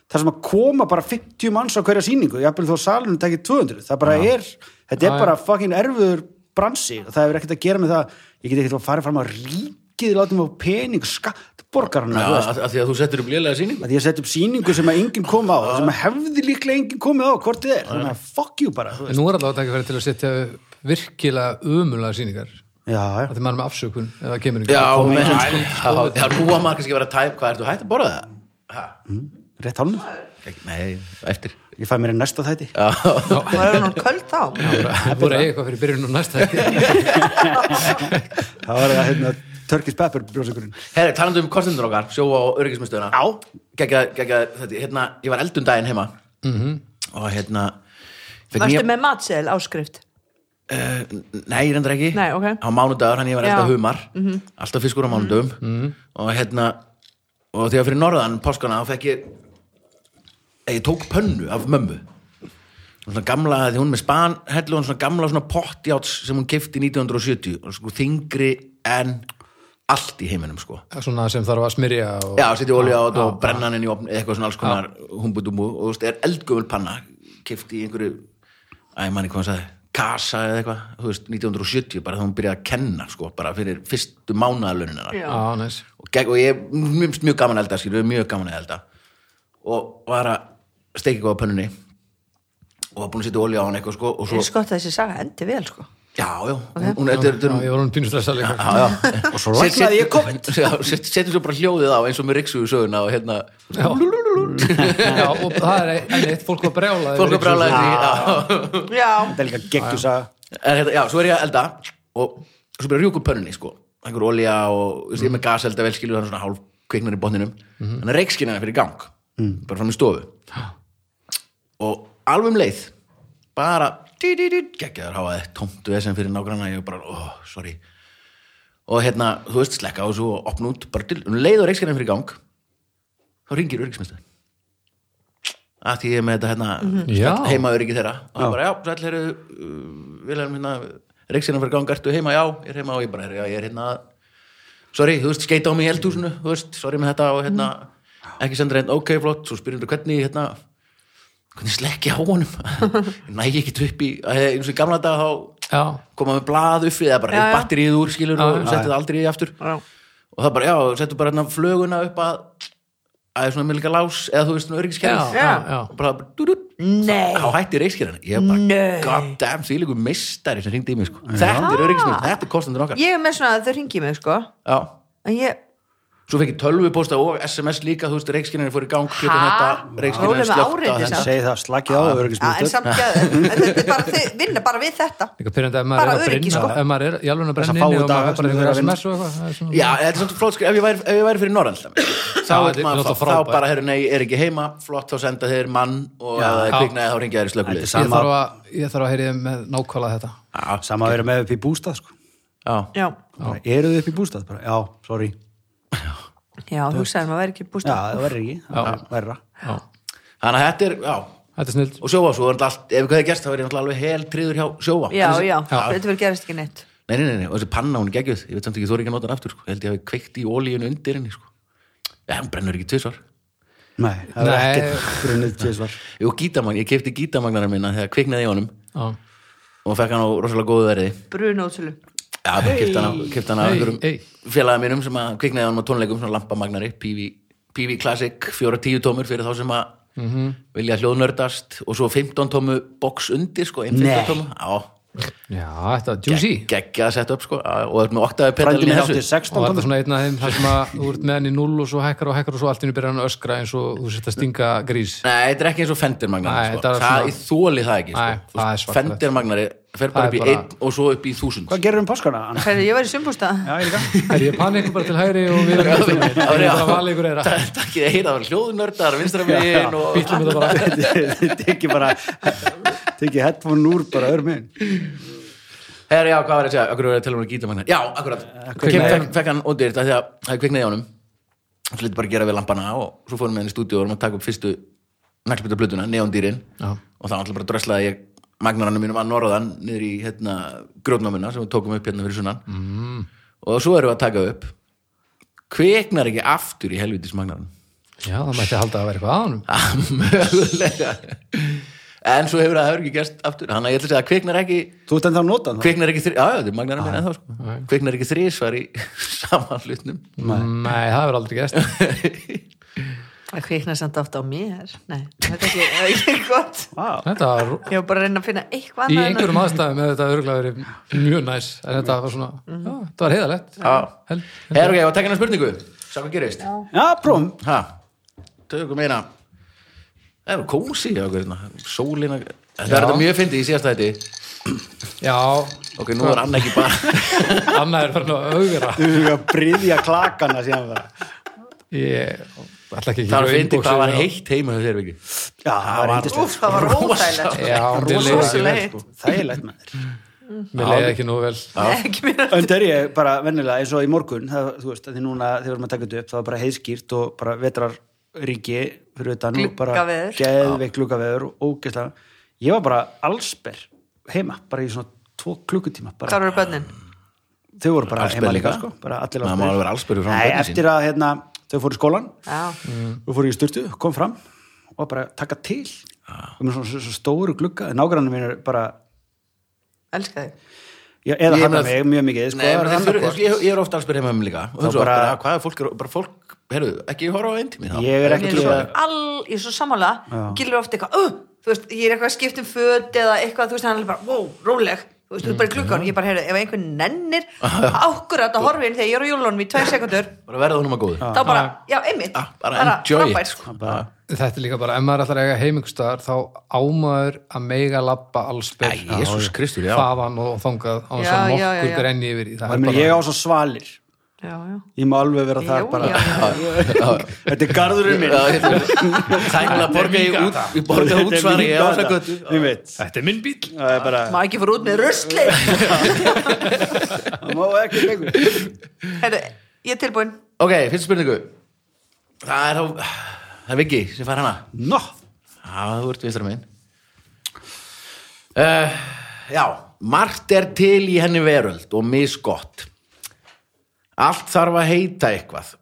D: þar sem að koma bara 50 manns á hverja síningu, ég hafði þó salunum tekið 200 það bara er, þetta
B: Já,
D: er
B: já.
D: bara fucking erfiður bransi og það hefur ekkert að gera með það ég get ekkert að fara fram á ríkið látum á pening, skatt, borgarna
A: Já,
D: þú veist
A: að, að því að þú settir upp lélega síningu
D: að ég sett upp sýningu sem að enginn kom á sem að hefði líklega enginn komið á hvort þið er, þannig að fuck you bara þú veist.
B: en nú er alltaf að taka fyrir til að setja upp virkilega ömulega sýningar
D: já, já.
B: þetta er maður með afsökun eða kemur ekki
A: Já,
B: Koma
A: menn, <laughs>
B: engin
A: já,
B: sko-
A: já, já, nú að maður kannski vera tæp hvað ertu hægt að borða það? Ha?
D: rétt hálfum,
A: Ekki- Nei, eftir
D: ég fæ mér í næsta þætti
C: Það er nú köld þá.
B: Það voru að eiga eitthvað fyrir byrjun og næsta <laughs>
D: það var það hérna Turkish Pepper brjósökurinn
A: Herri, talandi um kostundur okkar, sjóa og öryggismistöðuna
D: Já.
A: Gekja, gekja, þetta, hérna, ég var eldum daginn heima -hmm. Og hérna fekk
C: Varstu
A: nýja-
C: með matseðil áskrift?
A: Eh, Nei, ég reyndar ekki
C: Nei, ok.
A: Á mánudagur, hann ég var
C: Já. Mhm.
A: alltaf humar Alltaf fiskur á mánudum Og hérna Og þegar fyrir norðan, páskana, þá fekk ég Eh, Ég tók pönnu af mömmu Svona gamla, því hún er með span Hellu hún svona gamla svona pottjáts Sem hún kefti 1970 Og sko þingri en allt í heiminum sko
B: svona sem þarf að smyrja og...
A: Já, setja olja á þetta og brenna hann inn í opn eða eitthvað svona alls konar humbudumu og þú veist, er eldgöful panna keft í einhverju, æ, manni hvað hann sagði kasa eða eitthvað, þú veist, 1970 bara þá hún byrjaði að kenna, sko, bara fyrir fyrstu mánaðalöninina
C: Já.
B: Já, næs.
A: og, gegn- og ég mjög, mjög gaman að elda, skilur við mjög gaman að elda og var að steikja eitthvað á pönnunni og var búin að setja olja á hann eitthvað, sko, og
C: Ég
A: svo,
C: er skott að þessi saga endi vel, sko.
A: já, já hún, hún, þetta er,
B: Já,
A: þetta er
B: ég var hún pínustressa líka
A: Já, já. og svo
D: læknaði ég
A: <laughs>
D: COVID.
A: setjum svo bara hljóðið á eins og með Riksu söguna og hérna
B: Já. Já, og það er enn eitt fólk var brjála
A: fólk að brála því já.
C: Já.
D: það er líka geggjus að
A: En hérna, já, svo er ég að elda og svo byrja að rjúka upp pönnunni sko. einhver olja og þú veist, ég er með gaselda vel skilur þannig svona hálf kviknar í botninum þannig að reikskina hann fyrir í gang bara fram í stofu og alveg um leið bara geggjaður háaði tómtu þessum fyrir nágranna ég bara, oh, sorry og hérna, þú veist, slekka á þessu og opna út bara til, um leið og reikskina fyrir í gang þá ringir öryggismistuð að því ég er með þetta hérna
B: Já.
A: mm heimaöryggi þeirra og ég bara, já, sæll, heyrðu, uh, Vilhelm, hérna reiksina fyrir gang, ertu heima, já, ég er heima og ég bara, heyrðu, já, ég er hérna að- sorry, þú veist, skeita á mig í eldhúsinu, þú veist, sorry með þetta og hérna,
B: Mm.
A: ekki senda reynd, ok, flott svo spyrir þú hvernig, hérna hvernig slekki á honum <laughs> næ ég ekki upp í, að eins og í gamla dag þá
B: Já,
A: koma með blað upp við eða bara
C: Já,
A: reyð
C: já.
A: batterið úr skilur
B: Já,
A: og
B: já.
A: setti það aldrei í aftur
C: Já.
A: og það bara, já, settu bara hérna flöguna upp að að það er svona milga lás eða þú veist svona öryggiskerfi
B: já, já.
A: og bara dú, dú,
C: Nei.
A: þá hætti reykskirjan ég bara,
C: Nei.
A: god damn, því líku mistari sem hringdi í mig sko. þetta er öryggismynd, þetta er kostandur okkar
C: Ég er með svona að þau ringi mig, sko.
A: já.
C: En ég,
A: svo fekk ég tölvupósta og sms líka þú veist, reykskirjan fór í gang klukkan
C: Ha?
A: þetta reykskirjan
C: Róleg með áreiti
A: slögt
C: samt.
D: segi það, slakið á
C: ja, en
D: öryggismyndur
A: <laughs>
C: samt gæður. Þetta er bara, þau vinna bara við þetta.
B: Líka pyrrandi ef maður
C: Bara
B: er að
C: öryggi,
B: brenna
C: sko.
B: ef maður er í alveg að
D: Þessa
B: brenna inni
D: fáu
B: og maður
D: daga
B: er bara
D: sem þú er
B: einhver
D: að
B: sms og eitthvað það er svona-
A: Já, þetta er svona flott sko, ef ég væri, ef ég væri fyrir Norrland þá
B: Já,
A: er
B: þetta er
A: maður
B: náttúrulega
A: þá
B: frábært.
A: bara, herru, nei, er ekki heima flott, þá senda þeir mann og ef það er
B: já.
A: kviknaði, þá ringja þeir í
D: Þetta er
A: slökulið
D: samt.
B: Ég þarf að, ég þarf að heyrið með nákvæmlega þetta
D: sama að vera með upp í bústað sko.
A: Já,
C: Já,
D: Bara, eru þið upp í bústað? Bara, já, sorry já,
C: já, hugsaðum að væri ekki búst.
D: það verður ekki, það er verra
B: Já,
A: þannig að þetta er, já
B: þetta er snild
A: og sjóvá, svo er þetta allt, ef eitthvað hefði gerst þá er ég náttúrulega alveg hel tríður hjá sjóvá
C: Já,
A: Þessi-
C: já, þetta verður gerist ekki neitt.
A: Nei, nei, nei, nei, og þessi panna hún er geggjöð ég veit samt ekki, þú er ekki að nota hann aftur, sko. ég held ég hafi kveikt í ólíinu undir henni, sko Já, hún brennur ekki tvisvar
D: nei, það er
B: Nei.
D: ekkert grunnið tvisvar
A: Jú, gítamagn, ég kefti gítamagnarar minna þegar kviknaði í honum
B: Já,
A: og fekk hann á rosalega góðu verði
C: Brunótsölu.
A: Já, bara kefti hann á, keypti hann á
B: Hey, hey.
A: einhverjum félaga mínum sem að kviknaði á honum á tónleikum, svona lampamagnari PV, PV Classic, fjóra tíu tómur fyrir þá sem að
D: Mhm.
A: vilja hljóðnördast og svo 15 tómu box undir, sko, einn 15
D: Nei.
A: tómu Já,
B: já þetta er juicy
A: geggja að setja upp sko og þú ert með oktaði
D: frændi
A: pedalin í
D: minn
A: þessu
D: átti
B: Og
D: 16
B: var þetta
D: tónum
B: svona einn af þeim þar sem að þú ert með hann í null og svo hækkar og hækkar og svo allt í hennu byrjar hann að öskra eins og þú sett að stinga grís
A: Nei, þetta er ekki eins og
B: Nei,
A: fendirmagnar sko.
B: þetta er
A: það
B: svona-
A: er þóli það ekki
B: Nei,
A: sko.
B: það er svakalegt.
A: fendirmagnari fer bara upp
B: Það er
A: í
B: bara-
A: einn og svo upp í þúsund
D: hvað gerir um páskana? Anna?
C: Hvernig, ég var í sumbústað.
D: já, ég <laughs> líka
B: Er ég panni ykkur bara til hægri og við erum við erum bara að vala ykkur eira
A: Takk ég heita, það var
B: <laughs>
A: hljóðnördar vinstra megin og
B: Býtlum þetta bara
D: Þetta tekið bara tekið headphone úr bara öðrum minn
A: Herra, já, hvað var ég að segja, akkur verið að tala um að gíta magnar Já, akkurat, Kem-
D: kviknaði.
A: fekk fekk hann undir þetta því að það kviknaði á honum Svo lítið bara að gera við lampana og svo fórum við henni í stúdíu og vorum að taka upp fyrstu naglbyrta blötuna, neondýrin
B: Já.
A: og það var alltaf bara dröslaði ég magnarannu mínum að norðan niður í hérna, grjótnámuna sem við tókum upp hérna fyrir sunnan mm. og svo erum við að taka upp kviknar ekki aftur í helvitis magnarannu
B: Já, það mætti halda að vera eitthvað að honum
A: mögulega en svo hefur það hefur ekki gerst aftur þannig að ég ætla að segja að kviknar ekki
D: þú ert ennþá að nota það
A: kviknar ekki þri, já, já, þetta er magnarann minn ennþá sko kviknar ekki þrísvar í <laughs> samanlutnum
B: Nei, það verður aldrei gæst
C: Það kviknar samt ofta á mér. Nei, þetta er ekki, ekki gott.
D: Vá.
B: Þetta var
C: Ég var bara að reyna að finna
B: í
C: eitthvað annað en að-
B: einhverjum aðstæðum hefði þetta örgulega verið mjög næs en þetta var svona,
C: Mhm.
B: já, þetta var heiðalegt
A: <laughs>
B: Held-
A: er ok, ég var að taka hennar spurningu sá hvað gerist
D: já, prófum
A: ha, tökum eina það er kósi hjá okkur hérna. sólina, þetta er
B: Já.
A: þetta mjög fyndið í síðasta þetta
B: Já,
A: ok, nú er Anna ekki bara
B: Anna er farin að augra
D: þú fyrir að bryðja klakana síðan bara
B: Ég ætla ekki að
A: það er
B: gera
A: fyndið
B: inboxið hérna.
A: hvað var
B: á-
A: heitt heima hjá þér viki
D: já, það var eitthvað
C: Úf, það var óþægilegt. sko.
B: Já, mér leiði ekki vel
D: sko.
C: Rosalegt.
D: þægilegt með þér
B: Mér leiði ekki nú vel
C: Ekki mér að-
D: Önd er ég bara vennilega eins og í morgun það, þú veist, að því núna þegar við erum að taka þetta upp það var bara heiðskýrt og bara vetrar ríki fyrir utan og bara
C: Gluggaveður.
D: geðveik gluggaveður og ógeðslega ég var bara allsber heima bara í svona tvo klukkutíma
C: Hvar
D: bara,
C: eru bönnin?
D: þau voru bara
A: Allsber
D: heima
A: líka?
D: líka sko, bara allir
A: Maður má alveg vera allsber fyrir framan
D: Nei,
A: börnin sín. Mm.
D: eftir að hérna, þau fóru í skólan
C: Já,
D: og fóru í styrtu, kom fram og bara taka til
A: Ah.
D: og með svona, svona stóru glugga nágrannum minn er bara,
C: elska þig.
D: já, eða
A: Ég
D: hann
A: meina-
D: mig mjög mikið sko,
A: Nei, menn,
D: annað
A: þeir þurfa-
D: hvort.
A: ég, ég er ofta að spyrja heima um líka og
D: Þá
A: þú svo,
D: bara-
A: bara, hvað er fólk, bara fólk heyrðu, ekki horfa á einn tími þá
D: Ég er
C: Mér
D: ekkert
C: er
D: líka-
C: svo all, ég er svo sammála gilur ofta eitthvað, uh, þú veist, ég er eitthvað að skipta um föt eða eitthvað, þú veist, hann er bara, wow, róleg þú veist, þú er bara í klukkan, ég bara heyrðu, ef einhver
D: <laughs>
C: nennir ákkurat að horfa inn þegar ég er á jólunum í tvær sekundur,
A: bara verða honum að góðu
C: þá bara, já, einmitt
A: Ah, bara enjoy it.
C: frábært, sko.
D: bara,
B: Þetta er líka bara, ef maður ætlar að eiga heimingstæðar þá ámaður að mega labba allsbyr
A: Æ, Jesús Kristur, já.
B: Þaðan og þangað á þess að
C: Já, já, já,
B: nokkur
C: já.
B: grenni yfir í
D: Ég
B: það
D: meina, ég á svo svalir
C: já, já,
D: ég má alveg vera
C: Jú,
D: þar bara
C: já,
D: <laughs> þetta er garðurinn minn
A: <laughs> Tænilega borga í út í
D: Þetta
A: borga
D: er
A: útsvari
D: mín
A: ég
D: gata.
A: ásakvöldu
D: Ég veit.
B: Þetta er minn bíl
D: það er bara
C: má ekki fara út með <laughs> rusli
D: það má ekki lengur
C: heyrðu, ég er tilbúin
A: ok, fyrst spurningu það er þá það er Viggi sem fær hana
D: no
A: já, þú ert vinstra minn uh, já margt er til í henni veröld og misgott allt þarf að heita eitthvað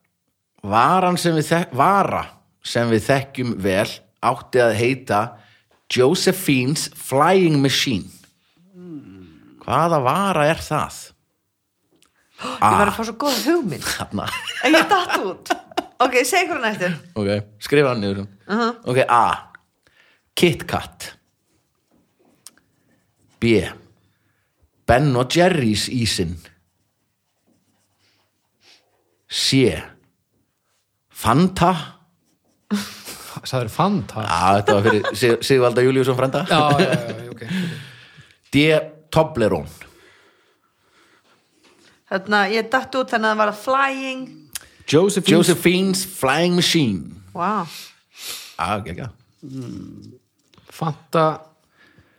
A: varan sem við þek vara sem við þekkjum vel átti að heita Josephine's Flying Machine hvaða vara er það?
C: ég var að fá svo góð hugmynd
A: þarna
C: en ég datt út ok, segi hvernig eftir
A: Ok, skrifa hann niður um. Ok, A KitKat B Ben og Jerry's ísinn C Fanta
B: það er fanta
A: Já, þetta var fyrir Sig- Sigvalda Júliusson frænda
B: já, já, já, já, ok
A: D. Toblerón
C: Þarna, Hérna, ég datt út þannig að það var að flying
D: Josephine
A: Josephine's Flying Machine
C: wow.
A: Já, ekki, ekki
B: fanta,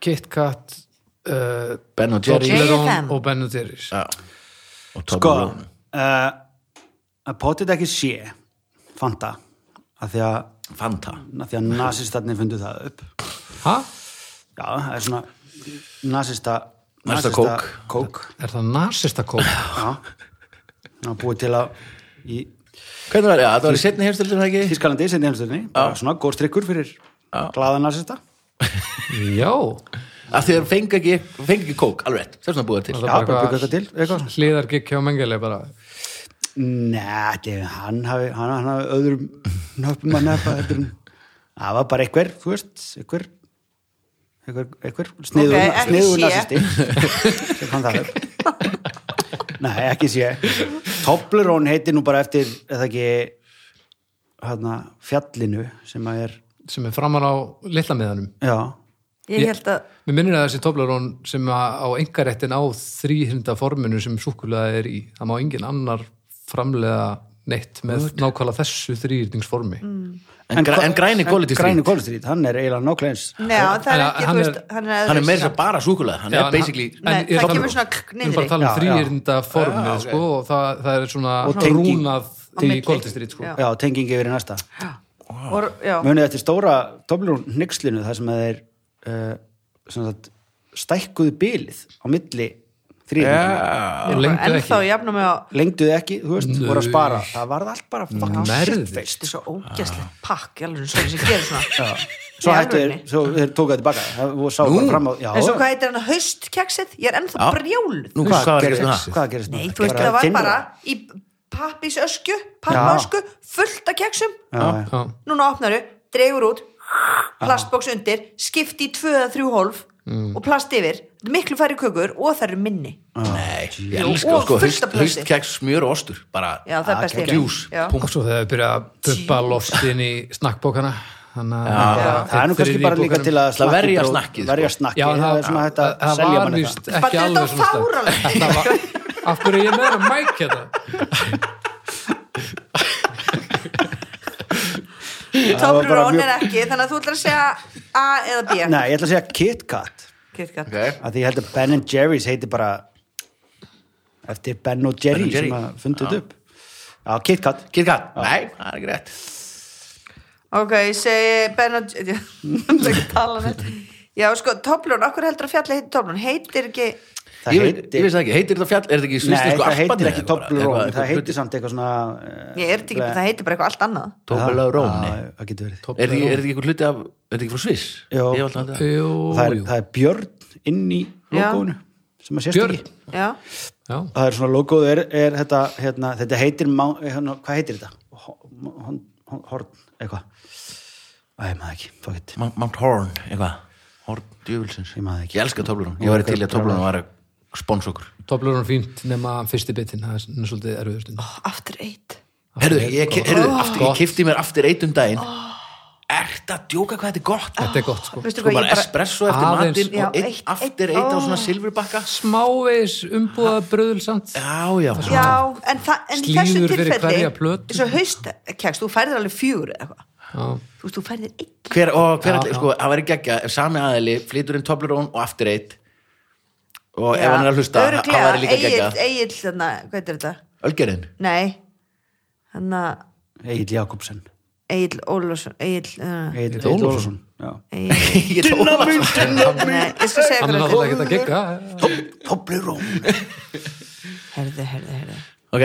B: KitKat uh,
A: Ben og Jerry's
B: Toblerone
C: JFM.
B: og Ben Jerry's
A: Já. Og
D: sko
A: Toblerón
D: uh, að potið ekki sé Fanta að því að,
A: Fanta
D: að, því að nasistarnir fundu það upp
B: ha?
D: já, það er svona nasista
A: Nasista kók.
D: kók
B: er það nasista kók?
D: já, það var búið til að í
A: Hvernig var, já, þetta var í setni heimstöldum ekki?
D: Þískalandi sem nefnsturni, bara svona góð strikkur fyrir glaða nasista
B: já,
A: af því þeir fengi ekki, fengi ekki kók, alveg rétt, þess vegna búið það til
D: Já, bara byggu þetta til, eitthvað.
B: hlýðar gikk hjá mengeli bara
D: Nei, þetta- hann hafi, hann, hann hafi öðrum nöppum að nöppa heldur en það var bara einhver, þú veist, einhver einhver, einhver sniður,
C: Ok, ekki
D: sniður
C: sé.
D: nasisti sem hann það upp. Nei, ekki sé Toblerón heitir nú bara eftir eða ekki hana, fjallinu sem að er
B: sem er framan á litla miðanum
D: já,
C: ég held að
B: mér minnir að þessi Toblerone sem að- á engaréttin á þrýhinda forminu sem súkulega er í það má engin annar framlega neitt með nákvæmlega þessu þrýhyrningsformi mm.
A: en, græ, en græni quality
D: græni
A: street
D: kólistrít, hann er eiginlega nákvæmst
C: neða, það er
B: Hann-
C: ekki,
B: hann
C: þú
B: er-
C: veist hann er,
A: hann er meira
C: öðruvísi.
A: sem bara súkulega hann er basically
C: Nei, það kemur svona klikk
B: við erum bara að tala um
D: niðri. Já, já.
B: þrýhyrnda formið
A: Já, ok.
B: sko, og það, það er svona
D: Og tenging.
B: rúnað
C: Á
B: til
C: milli.
B: kvöldistrýt sko.
C: Já.
D: já, tengingi yfir í næsta
C: og, já,
D: munið eftir stóra Toblerón hnyggslinu þar sem að þeir uh, sem sagt, stækkuðu bilið á milli þrýðum,
A: Já.
B: og
C: bara
B: lengdu
C: ennþá
B: ekki
C: jafnum með að
D: lengduðu ekki þú veist, voru að spara, það varð allt bara fucking
B: Merði.
D: shitfaced.
C: þetta er svo ógæslegt pakk í alveg sem gerir svona
D: svo
C: Í
D: hættu þeir,
C: alvörunni?
D: svo þeir tóku það tilbaka það- og sá bara fram á, já,
C: en svo hvað heitir hann haustkeksið, ég er ennþá brjóluð
A: nú
D: hvað,
A: hvað var
D: gerist,
A: ekki
D: hvað,
A: það
D: gerist
C: nei, þú veist, það var bara í pappís ösku pappaösku, fullt af keksum
D: já,
B: Já.
C: núna opnaru, dregur út plastboks undir, skipti í tvö eða þrjú hólf
D: Mm.
C: og plast yfir þetta er miklu færri kökur og það eru minni
A: nei, ég
C: Ah. Jú,
A: elska
C: og
A: sko
C: fullt af plasti.
A: haustkeks, smjör og ostur bara ah,
C: já, það er best í
A: djús,
C: heimi. Já.
A: punkt
B: og svo þegar við byrja að pumpa loft inn í snakkbókana þannig að
C: Já.
D: það er nú kannski bara líka til að
A: Til að verja
D: snakkið-
A: snakkið, sko.
D: verja snakkið,
B: Já, en
D: það
B: það,
D: er svona hægt
B: það-
D: að
B: það
D: selja
B: var
D: manni
B: víst
D: það
B: ekki
C: Bara þetta
B: alveg
C: var
B: svona stað. <laughs> Þetta
C: fáránlegt.
B: var- af hverju er ég meira mæk hérna
D: var bara
C: Toblerone
D: mjög-
C: er ekki, þannig að þú ætlar að segja A eða B
D: nei, ég ætla að segja KitKat
C: KitKat
A: ok,
D: að því ég held að Ben Jerry's heiti bara eftir Ben og Jerry
A: Ben Jerry.
D: sem að fundið upp já, KitKat
A: kirkat, nei, það er ekki rétt
C: Ok, ég segi Ben og Jerry <laughs> Það er ekki að tala neitt Já, sko, Toblerone, okkur heldur að fjalla heitir Toblerone heitir ekki
D: það
A: ég veit
D: heitir
A: ég veist það ekki, heitir þetta fjall, er þetta ekki
D: nei,
A: svisnesku
D: það heitir
A: alpanir
D: ekki
A: eða sko, bara-
D: Toblerone
A: eitthvað-
D: það
A: eitthvað-
D: heitir samt eitthvað svona eh,
C: Ég er þetta ekki, það heitir bara eitthvað allt annað
A: Toblerone
D: Já, það getur verið
A: er þetta ekki- er þetta ekki einhver hluti af, er þetta ekki frá Sviss
D: Jó.
A: ég hef alltaf haldið það.
B: jú,
D: það er,
B: jú.
D: það er björn inn í
C: Já.
D: logoinu sem að sést
B: Björn.
D: ekki
C: Já,
B: Já.
D: það er svona logoðu er, er þetta hérna, þetta heitir, Mount- hérna, hvað heitir þetta Ho- hon- hon- horn, eitthvað Æ, maður ekki, fuck it
A: Mount- Mount Horn, eitthvað Horn djöfulsins
D: Ég maður það ekki.
A: ég elska Toblerone, ég væri til í að Toblerone var að spons okkur
B: Toblerone fínt nema fyrsti bitin það er svona svolítið erfiður stund
C: aftur eitt
A: Herðu, ég, ke- herðu aftur,
B: Gott.
A: ég kifti mér aftur eitt um daginn Ert að djóka hvað þetta er gott
B: þetta er gott sko
C: Veistu
A: Sko
C: hvað,
A: bara
C: ég bara
A: espresso eftir
B: Aðeins.
A: matinn
C: Já,
A: og eitt,
C: eitt-
A: aftur
C: eitt-
A: eitt á
C: ó.
A: svona silfurbakka
B: smávegis umbúða bröðul samt
A: Já, já,
C: Já, en, þa, en í
B: Slíður
C: þessu
B: fyrir
C: tilfelli
B: hverja plötu.
C: Svo haustkeks, þú færðir alveg fjögur eða eitthvað
B: Já.
C: Þú veist, þú færðir einn
A: hver, og hver
B: Já,
A: allir,
B: já.
A: sko, það væri geggja ef sami aðili flytur inn Toblerone og aftur eitt og ef
C: Já,
A: hann er að hlusta það
C: örugglega,
A: væri líka geggja
C: Egill, Egill, þarna, hvað er þetta?
A: Ölgerinn,
C: Nei, hann að
D: Egil Jakobsen
C: Egil Ólafsson Egil uh,
D: Egil
B: Ólafsson.
D: Ólafsson já.
C: Egil-
A: <laughs> ég tóla það
C: Nei, Ég skal segja
B: hann er
C: hvernig
B: náttúrulega ekki að gegga
D: Toblerone
C: Herðu, herðu, herðu
A: Ok,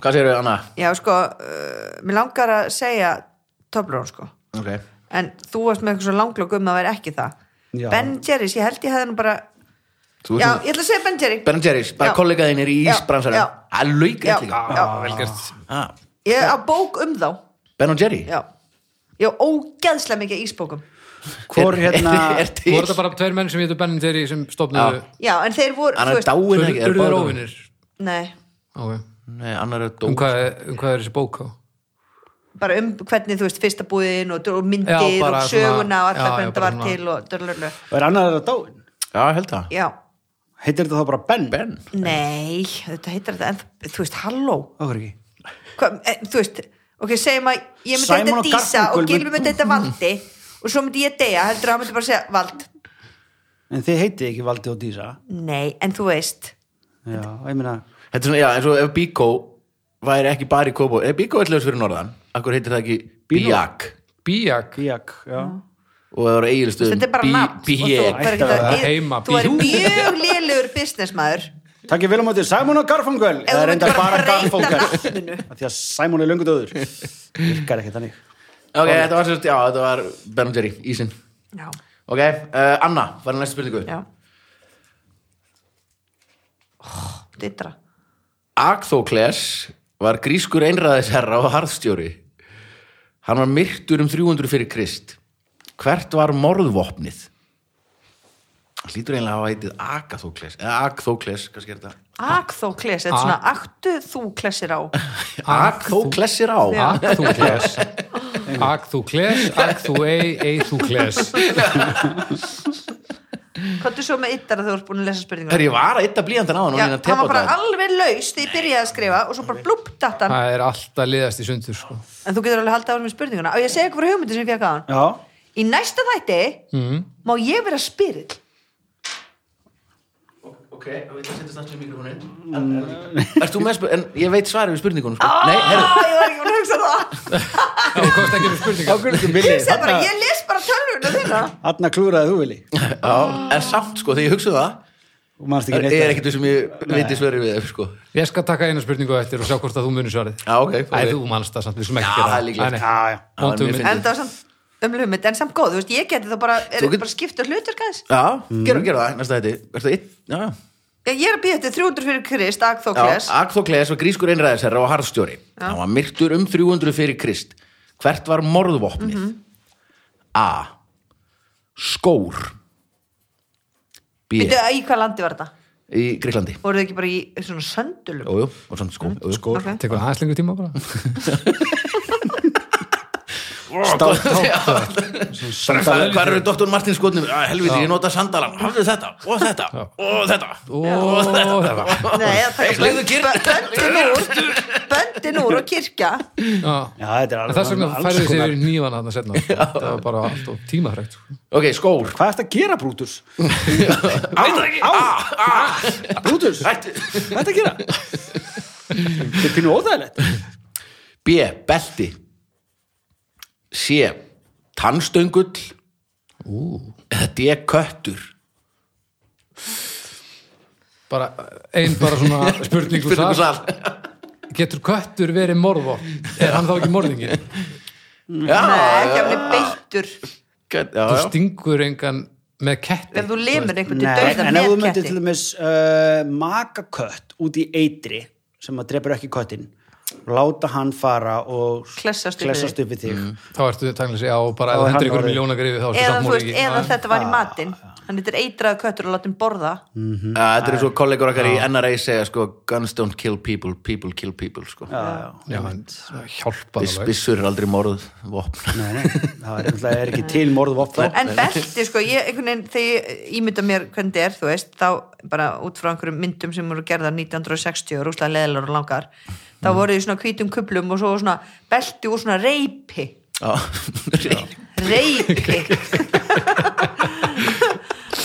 A: hvað segirðu, Anna?
C: Já, sko, uh, mér langar að segja Toblerone, sko
A: Ok,
C: En þú varst með eitthvað svo langlokk um að vera ekki það
D: Já.
C: Ben Jerry's, ég held ég hefði nú bara
A: þú
C: Já,
A: veist
C: ég ætla að segja Ben Jerry
A: Ben Jerry's, bara
C: Já.
A: kollegaðin er í
C: Já,
A: ísbransanum
C: já.
A: Það er lauk
C: Já,
A: eftir líka
C: já,
B: velgert
A: Ah,
C: Ég er að bók um þá
A: Ben og Jerry?
C: Já Ég er ógeðslega mikið af ísbókum
D: Hvor hérna
A: Er- <laughs> er til?
B: voru þetta bara tveir menn sem hétu Benin Terry sem stopnuðu
C: Já, en þeir voru
A: Hann
C: þú
A: er
C: veist-
A: dáin
B: Urðu
A: ekki
B: urðu þeir óvinnir
C: Nei,
B: okay.
A: Nei, annar er
B: um,
A: dóin
B: hvað, um hvað er þessi bók á?
C: bara um hvernig þú veist fyrsta búðin og, og myndir
B: Já, bara
C: og söguna
B: svona-
C: og allar
B: já, já,
C: hvernig það
B: bara
C: var
B: svona-
C: til og dörlurlu
D: Er annar þeirra dáin?
A: Já, ég held það
C: Já,
D: Heitir þetta þá bara Ben?
A: Ben?
C: nei, þetta heitir þetta en þú veist, halló
D: Okkur ekki
C: Hva, e, þú veist, ok, segjum að ég myndi
D: Simon
C: þetta
D: og
C: dísa
D: Garfunkel
C: og Gilvi
D: mynd-
C: myndi þetta valdi og svo myndi ég deyja, heldur að hann myndi bara segja vald,
D: En þið heitið ekki Valdi og Dísa
C: nei, en þú veist
D: Já, ég meina
A: Þetta er svona, já, eins og ef Bíkó væri ekki bara í Kóbo Ef Bíkó er hljóðs fyrir norðan Akkur heitir það ekki Bíak
B: Bíak
D: Bíak, já
A: Og það voru eigilstöðum
C: þetta er bara
D: E.
C: nafn og
A: Bíak
C: þú,
D: Ætti að
C: bara,
D: vera
C: ég,
B: heima,
C: þú er
B: bí-
C: mjög lélugur businessmaður
D: Takk ég vel á móti Simon og Garfunkel
C: ef
D: Það
C: þú
D: er enda
C: myndir
D: bara Garfunkel
C: breyta nafninu
D: Af Því að Simon er löngu döður Virkar ekki þannig
A: Ok, þetta var sérst, já, þetta var Ben og Jerry, ísinn
C: Já,
A: Ok, uh, Anna, var næstu spurningu
C: já oh, Dittra
A: Akþókles var grískur einræðisherra og harðstjóri Hann var myrtur um 300 fyrir Krist Hvert var morðvopnið? Hann hlýtur eiginlega að hafa heitið Agathókles eða Agþókles, hvað sker þetta?
C: Akþókles, þetta er svona aktu þú klessir á
A: Agþókles er á
B: Ak þú kles Ak þú kles, ak þú ei, ei þú kles
C: Hvað er svo með yttar að þú ert búin að lesa spurningar?
A: Þegar ég var að ytta blíjandan á hann og
C: Já,
A: hann að
C: það var
A: tepa
C: bara
A: það
C: alveg laus þegar ég byrjaði að skrifa og svo bara blúpp datan
B: Það er alltaf liðast í sundur sko.
C: En þú getur alveg haldið ára með spurninguna Á ég að segja eitthvað fyrir hugmyndi sem ég fekk á hann
D: Já,
C: Í næsta þætti
B: Mhm.
C: má ég vera spyrill
A: Ok, þá veit ég að setja stannslega mikrofonin Erst þú með spurningun? En ég veit svarið við spurningunum sko. Nei, herru,
C: ah, Ég var ekki búin að hugsa <laughs> það
B: Það komst ekki með spurningar
D: okkur ekki villi
C: Ég segi bara, ég les bara tölvuna þína
D: Þarna klúraði þú villi
A: já, en samt sko, þegar ég hugsa það
D: Og manst ekki neitt
A: Ég er ekkert sem ég veit svarið við þeim, sko.
B: Ég skal taka eina spurningu á eftir og sjá hvort að þú munir svarið
A: Já, ok, ok.
B: Æ, þú manst það samt, við skulum ekki
A: Já,
B: gera
A: það er líklegt.
B: Æ, nei.
D: Já, já
A: Það var
B: Vond
A: mjög
B: hugmynd.
A: fyndið.
C: En það var samt um hugmynd, en samt góð Þú veist, ég geti þá bara, er
A: Þú
C: þetta
A: get-
C: bara skipt og hlutur gæðis
A: Já, gerum, gerum það, næsta þetta Er það eitt? Já, já
C: Ég er að býja þetta 300 fyrir Krist, Akþókles
A: Já, Agþókles var grískur einræðisherra og harðstjóri. Hann var myrtur um 300 fyrir Krist. Hvert var morðvopnið? A. Skór. B.
C: Býttu, í hvað landi var þetta?
A: Í Gríklandi.
C: Voruð þið ekki bara í svona söndulum?
A: Jújú, og svona skó. Jú, jú.
C: Skór. Ok.
B: Tekur aðeins lengri tíma
A: <laughs>
B: bara
D: Státt
A: Hvað hvað eru doktor Martin skotnum? Ah, helviti, ég nota sandalan. Hafðu þetta, og þetta, og þetta.
B: Ó, það var
C: Nei, eða
A: Hey,
C: taka
A: Legðu kyrr.
C: böndin úr Böndin úr og kirkja
B: Já.
D: Já, þetta er
B: En þess vegna
D: alls
B: færðu
D: konar.
B: sér nývan að það setna sko.
A: <laughs>
B: Það var bara allt sko. og tímafrækt
A: Ok, skór.
D: Hvað ertu að gera, Brútus?
A: Á, á,
D: Brútus, hvað
A: hættu.
D: ertu að gera? Þetta er pínu óþægilegt
A: B. Belti C. Tannstöngul eða D. Köttur
B: bara, Ein bara svona
A: <laughs>
B: spurning
A: Spurningu
B: úr það
A: sal
B: Getur köttur verið morðvort? Er hann þá ekki morðingin?
A: Já,
C: Nei, ekki
A: já,
C: af henni beittur
A: get- já,
B: Þú
A: já.
B: stingur engan með ketti
C: Ef þú lemur einhvern til
D: Nei,
C: dauða
D: en ef þú
C: með
D: myndir
C: ketti
D: til dæmis uh, maka kött út í eitri sem að drepur ekki köttin láta hann fara og
C: Klessast upp við
D: klessast upp við þig
B: Þá ertu tæknilega segja á bara
D: Þá er
B: eða
D: hann
B: hendur ykkur
D: orðið-
B: miljóna grifi þá ertu
C: Eða,
B: samt
C: þú veist,
B: morðingi
C: eða þetta var í matinn Hann heitir eitraðu köttur og látum borða
A: Æ, Þetta er svo kollegur okkar í NRA segja sko, guns don't kill people, people kill people sko.
B: Já, en það hjálpar alveg
A: Bissur er aldrei morð vopn.
D: Nei, nei, það er, náttúrulega er ekki til morð og opna
C: En belti, sko, ég einhvern veginn Þegar ég ímynda mér hvernig þetta er, þú veist Þá bara út frá einhverjum myndum sem voru gerðar 1960 og rúslega leðilegar og langar Þá voru því svona hvítum kuplum og svo svona belti úr svona reypi
A: Já. <laughs>
C: Reypi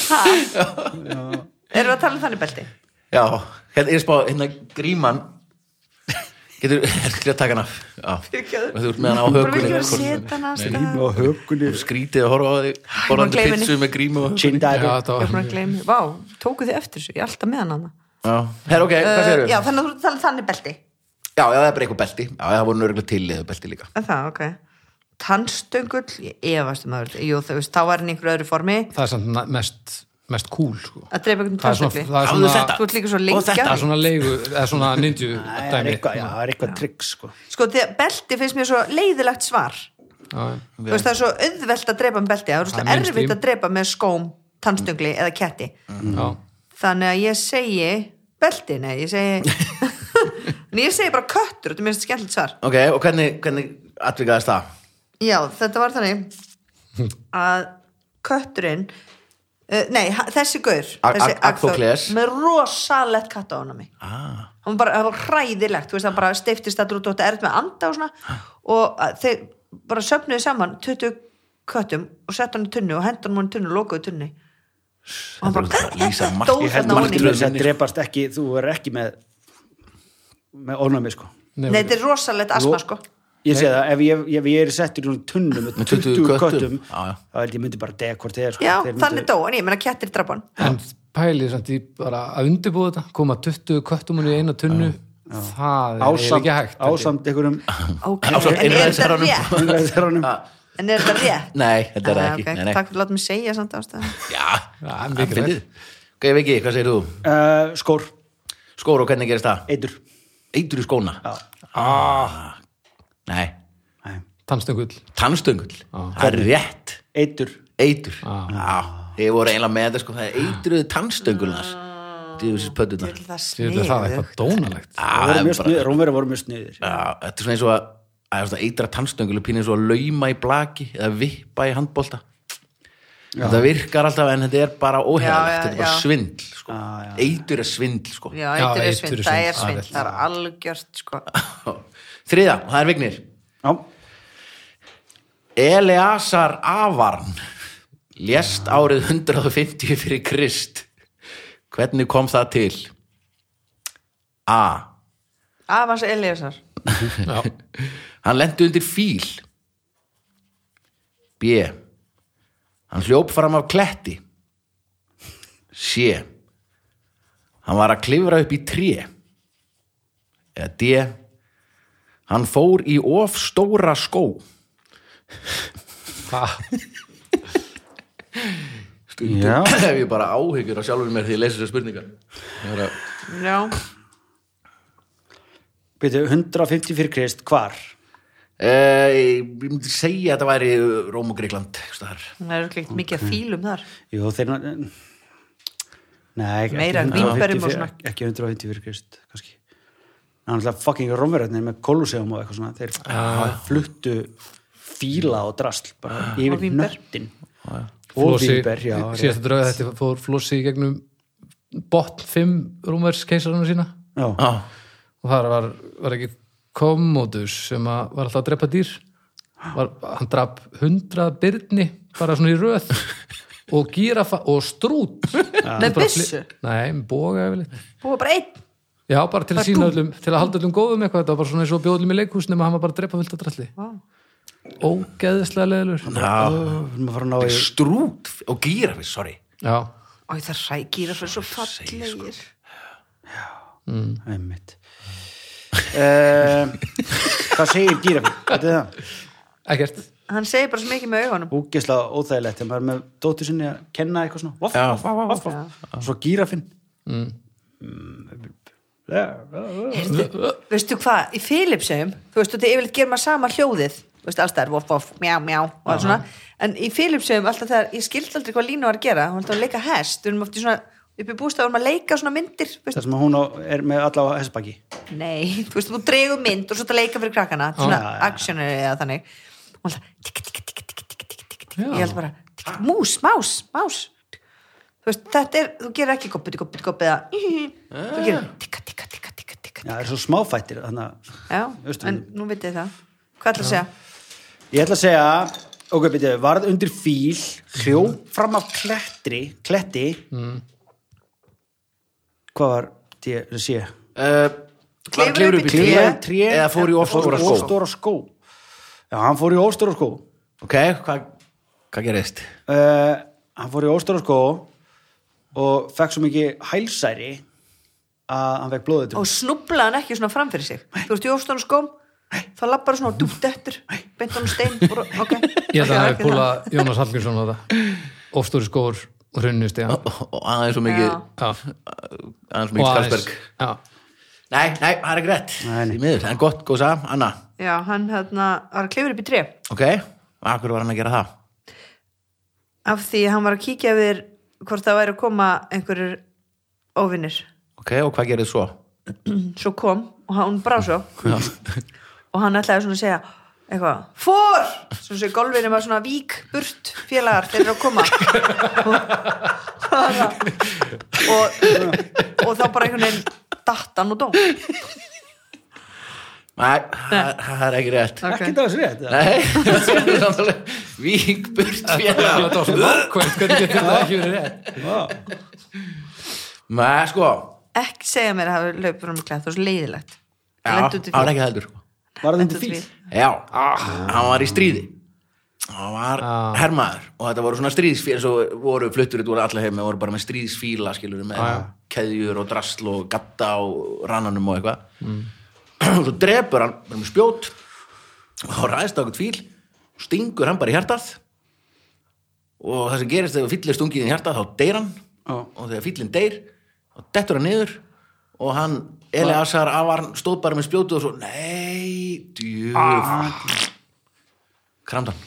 C: Ha? Erum við að tala um þannig belti?
A: já, hérna ég er spá hérna gríman getur, er að taka hana af Já.
C: Fyrirgefðu.
A: þú ert með hana á
C: Bara við ekki að
A: hökunni
C: setja hann að stað
D: og hökunni
A: skrítið að horfa á þig
C: var að
A: borðandi
C: gleyma henni.
A: pizzu með grímu og hökunni
B: Já,
D: Chindæru
B: þetta
C: Ég er búin
B: var
C: að gleyma, vá, tóku þið eftir þessu, ég er alltaf með hann hann
A: Já, Her, ok, hvað
C: uh,
A: segir
C: Já, þannig að þú talar þannig belti
A: Já, já, það er bara eitthvað belti. Já, það voru nörgulega til eða belti líka.
C: En það, ok Tannstöngul, ég efast um að Jú, þú veist, þá var hann í einhverju öðru formi
B: Það er samt na- mest mest cool sko.
C: að dreipa einhvern
B: það er svona,
C: tannstefni
B: það er
D: Hafðu
B: svona,
D: þetta?
C: þú ert líka svo
D: Og
C: lengja
B: það er svona leigu eða svona ninju
D: Æ, <laughs> það er
B: dæmi
D: eitthvað, já, það er eitthvað trygg sko.
C: sko þegar belti finnst mér svo leiðilegt svar
B: Já, já.
C: þú veist það er svo auðvelt að drepa með belti
B: Það
C: það er
B: er
C: rústlega erfitt
B: mainstream.
C: að drepa með skóm tannstöngli eða ketti
B: Já.
C: þannig að ég segi belti, nei, ég
B: <laughs>
C: segi en ég segi bara köttur, þetta er mér finnst skemmtilegt svar
A: Ok, og hvernig, hvernig atvikaðist það?
C: já, þetta var þannig að kötturinn uh, nei, ha- þessi gaur
A: Ag-
C: þessi
A: Ag- Agþór Kles.
C: með rosalegt katta á hann mig
A: Ah.
C: hann var bara, það var hræðilegt þú veist, hann bara steiftist allur út og þetta erð með að anda og svona og að þeir bara söfnuði saman 20 köttum og sett hann í tunnu og hendan hann í tunnu og lokaði tunni og hann bara,
A: Þetta er að lýsa mark-
C: dó
A: Ég
D: ég held
C: þarna
D: að
C: ofan í
A: martröð.
D: margir
C: mig."
D: þess að drepast ekki þú er ekki með með ónæmi sko
B: Nei,
C: nei, þetta er rosalegt asma sko
D: ég sé það, ef ég, ef ég er settur í svona tunnu með 20
A: 20 köttum.
D: köttum
A: Já, já.
D: þá held ég myndi bara dega hvort þeir sko.
C: já,
D: Þeir
C: þannig dó, en ég menna kettir drapa hann
B: en pælið samt í bara að undirbúa þetta koma 20 köttumunni í eina tunnu það er eiginlega
D: ásamt,
B: ekki hægt held ég.
D: ásamt einhverjum
A: Hm.
C: ok,
A: Ásamt
C: en er þetta
A: einræðisherranum.
C: rétt?
B: <laughs>
D: umræðisherranum.
C: en er þetta rétt?
A: <laughs> Nei, þetta er það
C: Ah,
A: ekki.
C: ok,
A: Nei, nei.
C: takk fyrir að láta mig segja samt ástæðan
A: Já,
B: Já, en
A: það
B: mikið
A: finnir. Ok, Viki, hvað segir þú?
D: uh, skór,
A: Skór og hvernig gerist það?
D: eitur
A: Eitur í skóna?
D: Já.
A: Ah. Nei,
D: Nei.
B: tannstöngul
A: tannstöngul. Það er rétt.
D: eitur
A: Eitur. Já, ég voru eiginlega með þetta, sko, það er eitruðu tannstöngulnar. Dýðusis pöttunar.
C: Djöfull, það
B: Ég veit að það er
C: sniðugt.
B: eitthvað dónalegt
A: Já, það er Ah, bara- Ah.
D: Rómverið voru mjög sniðir
A: Já, þetta er svona eins og að að það er svona eitra tannstöngul er pínu eins og að lauma í blaki eða vippa í handbolta þetta virkar alltaf en þetta er bara óheðalegt
C: Já, já,
A: þetta er bara
C: já.
A: svindl sko. eitur er svindl sko. <laughs>
C: Já,
B: Já,
C: eitur
B: eitur
C: er
B: er
C: svindl, það
B: svindl,
C: er
B: það er
C: svindl, það er algjört sko.
A: þriða, það er vignir
D: Já,
A: Eleazar Avarn lést árið 150 fyrir Krist hvernig kom það til? A
C: Avans Eliasar
A: Hann lendi undir fíl B Hann hljóp fram af kletti C Hann var að klifra upp í tré eða D Hann fór í of stóra skó
B: Það-
D: Já.
A: <coughs> Hef ég bara áhyggjur á sjálfur mér því ég lesi þessar spurningar Ég er að-
C: Já,
D: byrju, 150 fyrir krist, hvar?
A: Eh, Ég myndi segja að þetta væri Róm og Greikland einhvers staðar.
C: það eru klikt mikið af fílum þar
D: Jú, þeir ná- Nei, ekki
C: Meira en
D: 150
C: vínberum og
D: fyrir-
C: svona.
D: Ekki 150 fyrir krist, kannski Það er náttúrulega fucking Rómverðarnir með Kolosseum og eitthvað svona Þeir fluttu fíla og drasl bara
C: Ah. Og
D: yfir
C: vínber.
D: nöttin Og
B: Flossi,
D: vínber, já
B: síðast að drauga þetta fór Flossi í gegnum botn 5 rúmvers keisarana sína
D: já.
A: Já,
B: og þar var, var ekki Commodus sem að var alltaf að drepa dýr var, hann drap 100 byrni bara svona í röð og gírafa og strút
C: Með
B: Bara
C: byssu?
B: fli- Nei, með boga yfirleitt
C: Búið bara einn
B: Já, bara til að sína öllum, til að halda öllum góðum eitthvað, þetta var bara svona eins og bjóðlum í leikhús nema hann var bara að drepa fullt að dralli
C: Vá.
B: Ógeðislega leðilur
A: já.
D: Við erum að fara að ná í
A: Strút og gírafi, sorry
B: Já,
C: Ó, það rækir að fyrir svo fallegir
D: Einmitt uh, Hvað segir dýrafinn? Þetta er það
B: ekkert
C: Hann segir bara svo mikið með augunum
D: ógeðslega óþægilegt þegar maður er með dóttur sinni að kenna eitthvað svona voff,
A: Já.
D: voff, voff, voff, og svo gírafinn mm.
C: Heyrðu, Veistu hvað, í Philipsum Þú veistu, þetta yfirleitt gerir maður sama hljóðið Þú veist, alltaf er voff, voff, mjá, mjá og allt svona. En í Philipsum, alltaf þegar Ég skildi aldrei hvað Línu var að gera, hún var alltaf að leika hest Við erum oft í svona, upp í bústað, við erum að leika svona myndir veistu,
D: það sem að hún á- er með alla á hessbaki
C: Nei, <laughs> þú veist, þú dregur mynd og svo þetta leika fyrir krakkana, þetta er svona actioneri eða þannig og alltaf tikka, tikka, tikka, tikka, tikka, tikka, tikka, tikka.
B: Já.
C: ég held bara, tikka, mús, más, más þú veist, þetta er, þú gerir ekki goppi, goppi, goppi eða þú gerir tikka, tikka, tikka, tikka,
D: Já,
C: tikka
D: það er svo smáfættir þannig
C: já,
D: Veistu,
C: en nú veit ég það hvað ætla að segja?
D: að ég ætla að segja ok, byrju, varð undir fíl hljóf fram af klettri kletti hvað var því að sé
A: uh,
C: Klifur upp í
A: tré,
D: klifar í tré
A: eða fór í ofstóra skó
D: ofstóra skó já, hann fór í ofstóra skó
A: ok, hvað hva gerist?
D: uh, hann fór í óstóra skó og fekk svo mikið hælsæri að hann fekk blóðið til
C: og snubla hann ekki svona fram fyrir sig þú veist, í ofstónu skóm þá lappar svona og dúpt eftir beint hann stein og, ok,
B: Ég held að hann
C: Ok,
B: hefði
C: ekki það.
B: púlað Jónas Hallgrímsson á þetta Ofstóri skór runnust já.
A: og og aðeins og mikið
B: Já.
A: aðeins og mikið
B: aðeins-
A: Skalsberg
B: já.
A: Nei, nei, það er ekki rétt
D: Nei, nei.
A: Því miður, en gott, gósa, Anna
C: já, hann hérna var að klifur upp í tref
A: Ok, akkur var hann að gera það
C: af því hann var að kíkja yfir hvort það væri að koma einhverjur óvinnir
A: Ok, og hvað gerðið svo?
C: svo kom og hann brá svo og hann ætlaði svona að segja eitthvað, fór svo sé golfinu var svona vík, burt félagar, þeir eru að koma <laughs> og, og þá bara einhvern veginn datt hann og dó
A: Nei, það það er ekki rétt
D: ekki það þessu rétt eða?
A: Nei, <laughs> það er samtalið Víkburt
B: <laughs> Það
A: félag
B: var svo nákvæmt, hvernig getur þetta ekki verið rétt?
D: Vá.
A: Nei, sko
C: ekki segja mér að hafa löpur um klæð það var svo leiðilegt
A: Já,
C: Hann lenti út í
A: það var
C: fjöll.
A: ekki heldur sko.
D: var það
C: Lenti
D: undir
C: út í
D: því
C: fjöll.
A: Já, Ah, hann var í stríði Hann var
B: Ah.
A: hermaður og þetta voru svona stríðsfíla svo voru fluttur út úr alla heim og voru bara með stríðsfíla skilur með keðjur og drasl og gatta og rannanum og eitthvað og <clears throat> svo drepur hann bara með spjót og þá ræðist á eitthvað fíl stingur hann bara í hjartað og það sem gerist þegar fíll er stungið í hjartað þá deyr hann
D: Já.
A: og þegar fíllinn deyr þá dettur hann niður og hann Eliasar Avarn stóð bara með spjótu og svo nei, djöf kramdan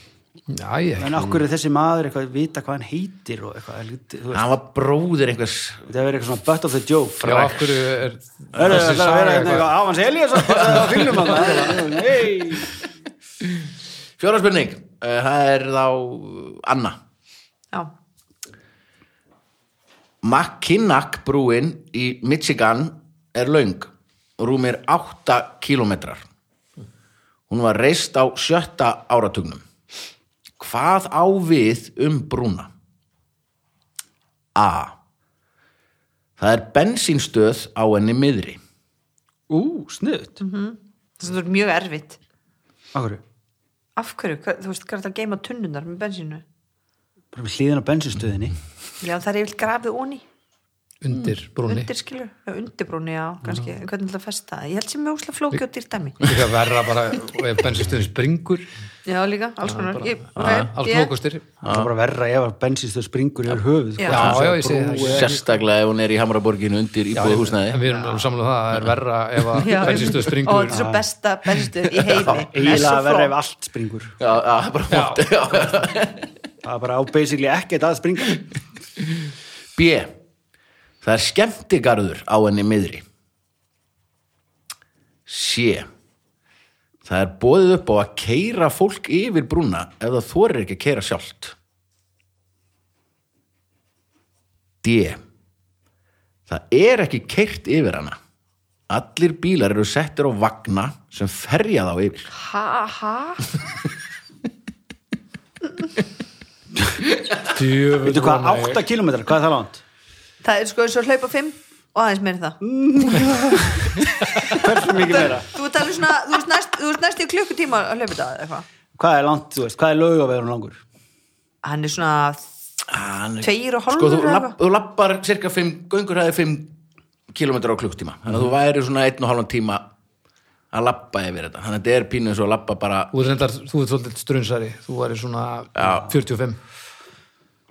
B: Já, ég
D: en okkur er þessi maður eitthvað að vita hvað hann heitir og eitthvað er lítið, þú veist,
A: hann var bróðir einhvers
D: þetta verður eitthvað svona butt of the joke
B: Já, af hverju er
D: Það er
B: þessi
D: að
B: saga
D: vera hérna
B: eitthvað?
D: eitthvað Avans Elias og það er á filmum hann Nei
A: fjóra spurning, eh, það er þá Anna
C: já,
A: McKinnock brúin í Michigan er löng rúmir 8 kilometrar hún var reist á sjötta áratugnum hvað á við um brúna? A það er bensínstöð á henni miðri
D: Ú, snuðt
C: það var mjög erfitt
D: Akkur,
C: af hverju, Hvað- þú veist, hvað er þetta að geima tunnunar með bensínu
D: bara með hlýðin á bensinstöðinni
C: já, það er yfir grafið onni
B: undir brúni?
C: undir skilur, já, undirbrúni já, kannski, hvernig ætla að festa það ég held sem mjög úslega flóki og dýrt dæmi
B: Líka verra bara, og ef bensinstöðin springur,
C: já líka, alls konar Ég-
B: alls
C: ég-
B: flókustir.
D: Það er bara verra ef að bensinstöð springur yfir höfuð sko.
C: Já.
B: Já, já, ég segi það.
A: sérstaklega ef hún er í Hamraborginu undir íbúið
B: En
A: húsnaði
B: við erum alveg samlega það, það er verra ef að
C: Já,
B: bensinstöð
C: og
B: springur.
C: þetta er svo besta bensinstöð í heimi Það er svo
D: Eiginlega verra ef
C: flott.
D: allt springur
A: já, já, bara fótt
D: Það er bara á basically ekkert að springa
A: B. Það er skemmtigarður á henni miðri. C. Það er bóðið upp á að keira fólk yfir brúna ef það þorir ekki að keira sjálft. D. Það er ekki keirt yfir hana. Allir bílar eru settir á vagna sem ferja þá yfir.
C: ha ha
B: Djöfull,
D: Veitu hvað,
B: Brúnei.
D: 8 kilometrar, hvað er það langt?
C: það er sko eins og að hlaupa fimm og aðeins meira en það
D: Hversu mikið meira?
C: þú talar svona, þú veist næst, þú veist næst í klukkutíma að hlaupa það eitthvað
D: Hvað er langt, þú veist, hvað er laugavegurinn langur?
C: hann er svona
A: Hann-
C: Tveir og hálfur
A: sko, þú,
C: eða
A: lapp,
C: eitthvað?
A: þú lappar cirka 5, göngur hefði 5 km á klukktíma þannig að þú væri svona 1 og hálfan tíma að lappa yfir þetta þannig að þetta er pínu eins og að lappa bara
B: Þú ert reyndar- þú ert svolítið strunnsari, þú væri svona 45.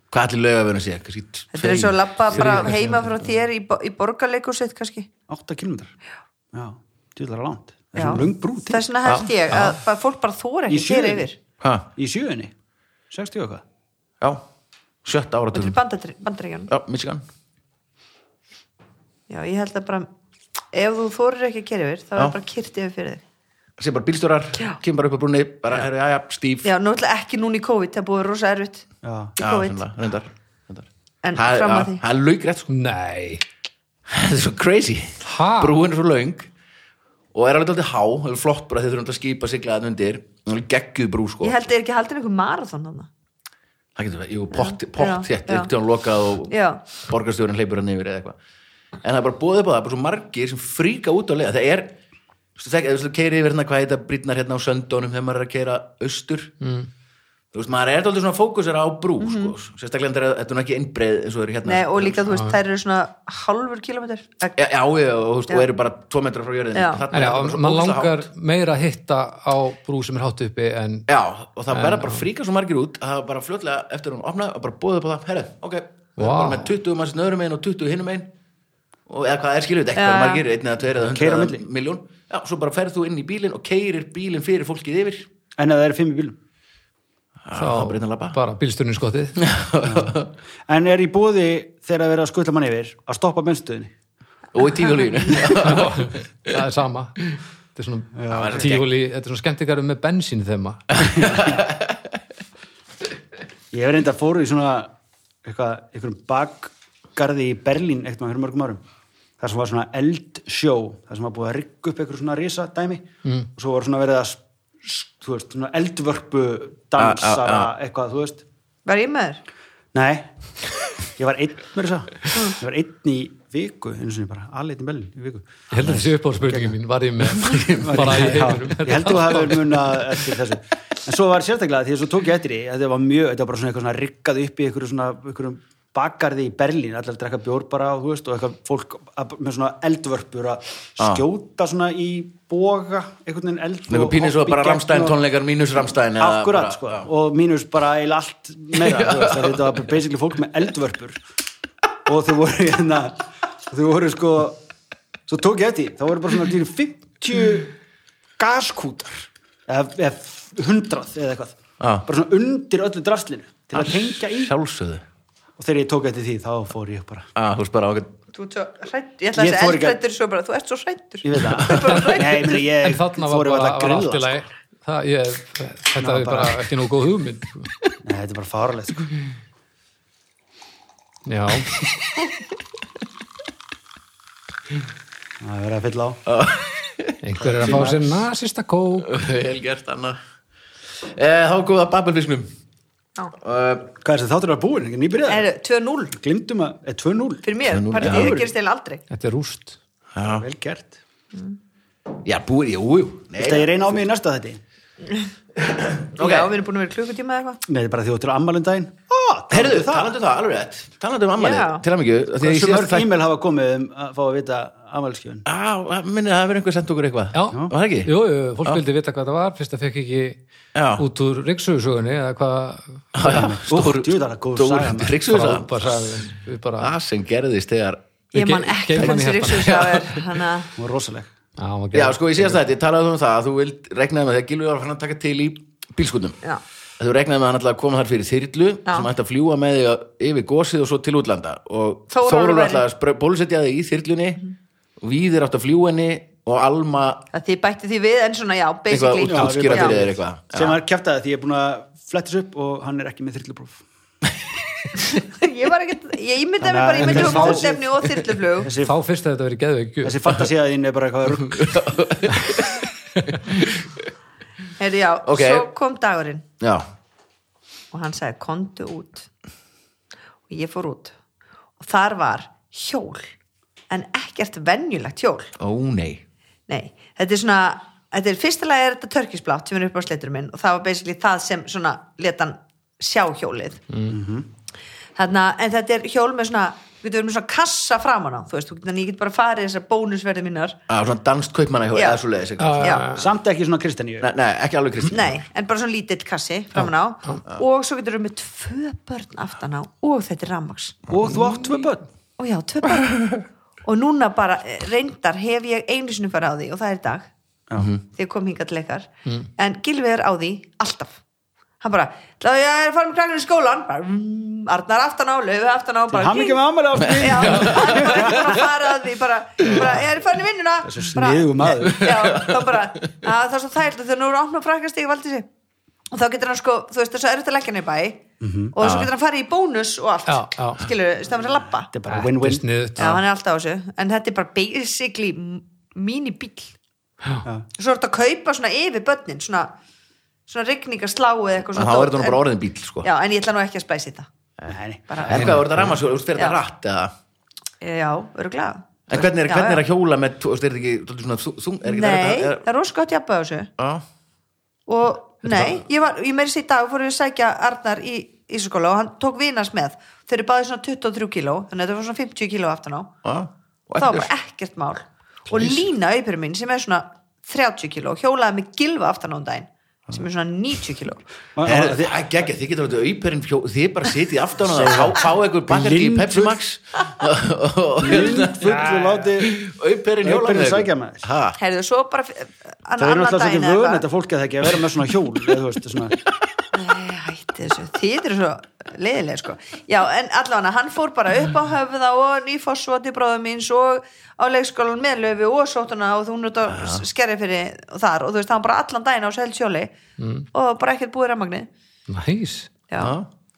A: hvað allir lögafinu sé kannski
C: þetta er eins og að
A: tveir.
C: lappa bara heima frá þér í, bo- í borgarleikusið kannski
D: 8 kilometrar Já, djúðlega langt Það er
C: Já.
D: svona löng brú til
C: þess vegna held ég að bara- fólk bara þóra
D: Í
C: ekki að keira
D: sjöunni.
C: yfir
A: Ha,
D: Í sjöunni, 60 og eitthvað
A: já, sjötta
C: þetta
D: Mm.
A: áratugum
C: er bandar- bandaríkjunum
A: já, Michigan
C: já, ég held að bara ef þú þórir ekki að keira yfir þá
A: Já.
C: er bara kyrt yfir fyrir þig
A: sé bara bílstjórar,
C: Já.
A: kemur bara upp á brúni bara, já, já, já stíf já,
C: Já, náttúrulega ekki núna í COVID, það er búið rosa erfitt
D: Já.
C: í COVID,
A: sennilega, reyndar, reyndar.
C: en
A: Það er-
C: fram að
A: já,
C: því
A: það er laugrætt sko
B: Nei.
A: þetta er svo crazy
B: Ha?
A: brúin er svo löng og er alveg alltaf há, það er flott bara þegar þú erum að skipa sigla þannig undir, það er geggjuð brú sko
C: Ég held að er ekki haldin einhver marathon hann
A: það getur verið, jú, pott, pott
C: Já,
A: þétt
C: já.
A: upp til hann lokað og
C: Já.
A: borgarstjórinn hleypur hann yfir eða eitthvað en það er bara búið upp á það, bara svo margir sem fríka út á leiða, það er þú veist, þú keiri yfir hérna hvað þetta brýtnar hérna á söndónum þegar maður er að keira austur mm. þú veist, maður er alltaf svona fókusera á brú, sko, sérstaklega þegar þetta er nú ekki innbreið eins og eru hérna
C: Mhm. Nei, og líka, þú veist, þær eru svona hálfur kilometr
A: Já, já, já, og, þú veist, og
C: Já.
A: eru bara tvo metrar frá jörðin
C: Já.
B: En já, mann langar meira að hitta á brú sem er hátt uppi en
A: Já, og það verða bara fríka svo margir út að það bara fljótlega eftir hún opnaði og bara búið upp á það, herrið, ok við erum bara
B: Vá.
A: með 20 manns nöðrum einn og 20 hinum einn og eða hvað er skiljuð ekki,
C: Já,
A: hvað er
C: já.
A: margir, einn eða tveir eða
D: Keyra á
A: hundra
D: milli.
A: miljón já, svo bara ferð þú inn í bílinn og keirir bílinn fyrir fólkið yfir
D: en ef það eru fimm í bílum
A: þá breytan labba
B: bara bílsturinn skottið
D: en er í bóði þegar að vera að skutla mann yfir að stoppa mennstöðinni
A: og í tífjólínu
B: það er sama þetta er svona
A: Já.
B: tíhóli, þetta er svona skemmtikarum með bensín þema
D: Ég hef reyndar fóru í svona eitthvað, einhverjum bakgarði í Berlín eitt maður fyrir mörgum árum þar sem var svona eldsjó þar sem var búið að rigga upp einhver svona risa dæmi og svo var svona verið að s- þú veist, svona eldvörpu dansara eitthvað, þú veist
C: Var ég með þér?
D: Nei, ég var einn mér þess að, segja. ég var einn í viku einu sinni bara, alveg einn í Berlín í viku
B: ég held að þessi uppáhaldspurningin mín var ég með bara í
D: Já,
B: heiminum
D: ég held að þú hefur muna eftir þessu en svo var sérstaklega því að svo tók ég eftir því þetta var mjög, þetta var bara svona eitthvað svona rikkað upp í einhverju svona, einhverjum bakarði í Berlín allir að drekka bjór bara og þú veist og eitthvað fólk að, með svona eldvörpur að
A: Ah.
D: skjóta svona í boga einhvern veginn eld
A: Nú
D: og
A: pínir svo
D: hoppa í
A: bara
D: gegn
A: Ramstein
D: og-
A: tónleikar mínus Ramstein eða
D: akkurat
A: bara-
D: sko
A: já.
D: og mínus bara eil allt meira þú veist, að þetta var bara basically fólk með eldvörpur og þau voru hérna þau voru sko svo tók ég eftir, því, þá voru bara svona dýri 50 gaskútar eða, eða 100 eða eitthvað
A: Já. Ah,
D: bara svona undir öllu draslinu til að tengja í
A: sjálfsögðu
D: og þegar ég tók eftir því þá fór ég bara
A: Ah, þú veist bara okkur
C: Þú ert svo hrætt Ég ætla að
D: Ég
C: þessi
D: fór ekki að-
C: eldrættur svo bara Þú ert svo hrættur
A: <laughs>
D: ég veit
C: <laughs>
D: það Nei, meni,
B: en
D: ég
B: þarna var
D: fór bara
B: bara var
D: að grilla
B: allt í
D: sko.
B: lagi Það- ég- þetta
D: var
B: er bara
D: bara-
B: ekki nóg góð hugmynd sko.
D: Nei, þetta er bara farlegt sko.
B: já,
D: það er verið að fylla á
B: einhver er að fá sér nasista kók
A: vel gert Anna eh, þá góða Babelfisknum uh,
D: hvað er þetta þáttur að búin, ekki nýbyrjaði
C: Er 2-0
D: glimtum að, eða 2-0
C: fyrir mér
A: 2-0,
C: Partið
A: já.
C: það gerist eða aldrei
B: þetta er rúst
A: já.
D: vel gert
A: já, búið, jú, jú Nei,
D: Þetta ég reyna á mig í næsta þetta
A: Ok.
C: Já, við erum búin að vera í klukkutíma eða eitthvað
D: Nei, þetta er bara því þú til að ammalum daginn ah,
A: Herðu, talandi um það, alveg rétt Talandi um ammalið,
C: Já.
A: til að mikið Því að ég
D: Þessu
A: síðast
D: mörg
A: þætt
D: e-mail hafa komið um að fá að vita ammalskjöfun
A: Á, minni það verið einhver sendt okkur eitthvað
B: já,
A: Var það ekki?
B: jú, jú, fólk vildi vita hvað það var fyrst að fekk ekki
A: Já. <laughs>
B: út úr ryggsögusögunni eða hvað
A: Stór,
D: djú, það er góð saga, maður.
A: Ríksuðu það Ah.
B: frábær sagði við bara
A: Það sem gerðist þegar
C: Ég
B: Ge-
C: man ekki
B: geymum hann í
C: hvernig
B: hjartanu.
C: sér ykkur það er Þannig að
D: Hún var rosaleg
B: <laughs> Já, hann var
A: Já,
B: geðveikur.
A: sko, ég síðast þetta, ég talaði um það að Þú vild regnaði með þegar Gilvi var hann að taka til í bílskutum
C: Já.
A: Þú regnaði með hann alltaf að koma þar fyrir þyrlu
C: Já.
A: sem ætti að fljúa með þig að- yfir gósið og svo til útlanda og
C: Þórólfur
A: Þórólfur
C: væri-
A: alltaf að bólusetja þig í þyrlunni og Víðir átt að fljúa henni og Alma
C: að þið bætti því við en svona já,
A: Eitthvað
C: basically
A: út- útskýra
C: Já.
A: fyrir þér eitthvað. Já.
D: Sem var kjæftaði því ég er búin að flettis upp og hann er ekki með þyrlupróf
C: <laughs> Ég var ekkert, ég ímyndaði mig
D: Þannig að-
C: bara, ég myndi um
D: Þessi-
C: mótefni og þyrluflug
D: Þessi,
B: þá fyrst að þetta verið geðveikju
D: þessi fantasíða þín er bara eitthvað rugg
C: Herri já,
A: Ok.
C: svo kom dagurinn
A: Já,
C: og hann sagði kondu út og ég fór út og þar var hjól en ekkert venjulegt hjól
A: ó nei
C: nei, þetta er svona þetta er fyrsta lagi er þetta törkisblátt sem er upp á sleitur minn og það var basically það sem svona letan sjá hjólið Þarna, en þetta er hjól með svona við getum verið með svona kassa framan á þú veist, þú getur, þannig að ég get bara farið þessar bónusverði mínar
A: að svona danst kaupmanna hjá
C: Já.
A: eða svo leiðis
C: já,
D: Samt ekki svona kristaníu
A: nei, nei, ekki alveg Kristín
C: Nei, en bara svona lítill kassi framan á og svo getur við með tvö börn aftan á og þetta er rammaks
D: Og þú átt tvö börn
C: og já, tvö börn og núna bara eh, reyndar hef ég einu sinni farið á því og það er í dag
D: Mhm.
C: já. þegar kom hingað til leikar en Gilvi er á því alltaf hann bara, "Ætla að ég er farin með krakkarinn í skólan bara, mm, Arnar aftan á, Laufi aftan á bara,
D: Hann ekki með ammali ástu
C: Já, hann
D: <laughs>
C: var ekki búin að fara að því bara, bara ég er farin í vinnuna
D: Þessu sniðugu maður.
C: <laughs> já, þá bara, að, það er svo þægilt þegar nú eru opna frækastík valdi sig og þá getur hann sko, þú veist þessu erut að leggja hann í bæ
D: Mhm.
C: og svo getur hann farið í bónus og allt
B: Já, já.
C: skilur, stafn að labba
D: Þetta er bara win-win
B: sniðut
C: já, hann er alltaf á þessu, en þetta er bara basically minibíl svo er þetta að kaupa svona yfir börnin svona, svona rigningarslá eða eitthvað
A: þá
C: svona
A: er
C: dót,
A: þetta nú
C: en-
A: bara orðin bíl sko.
C: já, en ég ætla nú ekki að spæsi þetta
D: Nei, nei.
C: bara,
A: en hvað, voru þetta rammaskjóla, þú veist, fyrir
C: Já.
A: þetta rætt eða
C: Eh, já, öruglega
A: En hvernig er,
C: Já,
A: hvernig er
C: já.
A: að hjóla með, þú veist, er þetta ekki, þú veist, svona, þú, er ekki
C: Nei,
A: er,
C: það er rosa gott jafnbæð á þessu
A: er,
C: og nei, ég var, ég meiri sér í dag fór ég að sækja Arnar í Ísaskóla og hann tók vinas með, þeir eru báðið svona 23 kíló, þannig að þetta var svona 50 kíló aftan á,
A: á, á, og
C: það var
A: ekkert,
C: bara ekkert mál og Lína auðvitað mín sem er svona 30 kíló, hjólaði með gilva aftan á um daginn sem er svona 90 kíló
A: Er, það er ekki, þið getur þetta auperinn fjó, þið bara sitið aftan og fá, fá einhver bakkar í
D: Blindur.
A: Pepsi Max
D: fullu láti
A: auperinn hjóla
D: Auperinn
A: með ykkur.
D: sækja með þér.
A: Ha,
C: heyrðu, svo bara an,
D: það er
C: annað
D: náttúrulega svolítið
C: daginn eða
D: vöðn
C: eitthvað.
D: þetta fólk að það ekki að vera með svona hjól eða þú veist svona
C: Nei, hætti þessu, þið eru svo leiðilega sko. Já, en allavega hann fór bara upp á höfða og nýfossvoti bróðum míns og á leikskólan með löfu og sóttuna og þú út að skerja fyrir þar og þú veist, hann bara allan daginn á sér sjóli
D: Mm.
C: og bara ekkert búið rafmagni
B: Næs.
C: Já,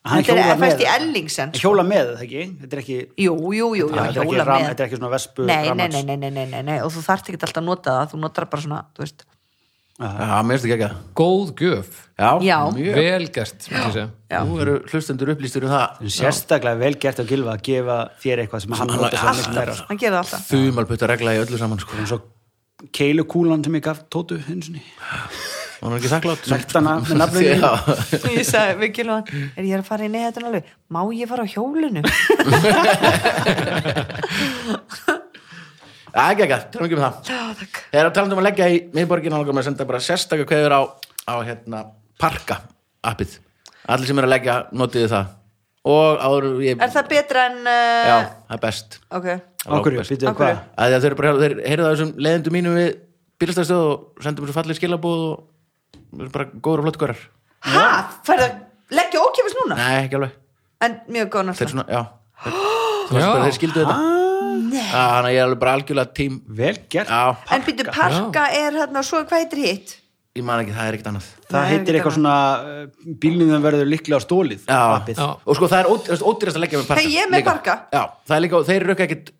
D: Hann
C: þetta
D: hjólar
C: er fæst
D: með.
C: í Ellingsen sko.
D: hjóla með það ekki þetta er ekki
C: Jú, jú, jú,
D: Já,
C: já,
D: þetta er ekki
C: hjóla
D: ram-
C: með
D: þetta er ekki svona vespu
C: nei, nei,
D: rafmagns.
C: nei, nei, nei, nei, nei, nei, og þú þarft ekki alltaf að nota það, þú notar bara svona, þú veist
A: já, mér finnst ekki ekki
B: Góð gjöf.
A: Já,
C: Já.
A: mjög
B: Vel gert, myndi ég segja.
C: Já.
A: Nú eru hlustendur upplýstur um það
D: sérstaklega vel gert á gilfa að gefa þér eitthvað sem hann notar svo mikið meira sko.
C: hann gerir það alltaf
A: Þumalputta regla í öllu saman sko.
D: eins og keilukúlan sem ég gaf Tótu eins og ný
A: Hún er ekki þakklátt <laughs>
D: Sektana með nafninu.
A: Já,
C: <laughs> ég sagði við gilvan er ég er að fara í neðatun alveg má ég fara á
D: <laughs>
C: hjólinu
A: Já, ekki ekki, tala ekki um það
C: Já, takk.
A: Þegar að tala um að leggja í miðborgin hann með að senda bara sérstakar kveður á, á hérna, parka appið Allir sem eru að leggja, notiði það Og áður ég
C: er það betra en uh,
A: Já, það er best
C: ok,
D: okkur, býttu
C: Af hverju?
D: hvað
A: að þeir eru bara þeir heyrðu á þessum leiðendum mínu við bílastæðstöð og sendum þessu fallið skilabóð og við erum bara góður og flott górar
C: ha, færðu að leggja ókjöfis núna
A: nei, ekki alveg,
C: en mjög góð
A: þeir
C: náttúrulega
A: svona, já þeir, <gasps> þú veist bara,
B: Já.
A: þeir skildu þetta Ah, þannig að ég er alveg bara algjörlega tím
D: vel gert
A: já,
C: en býttu parka er hérna svo hvað heitir hitt
A: ég man ekki, það er ekkert annað
D: það
C: Nei,
D: heitir
C: ekki
D: eitthvað svona uh, bílnum verður líklega á stólið
A: já,
D: appið.
B: Já.
A: og sko það er ódýrast, ódýrast að leggja með parka
C: Hey, ég er með
A: líka.
C: parka.
A: já, það er líka, þeir rökka ekkert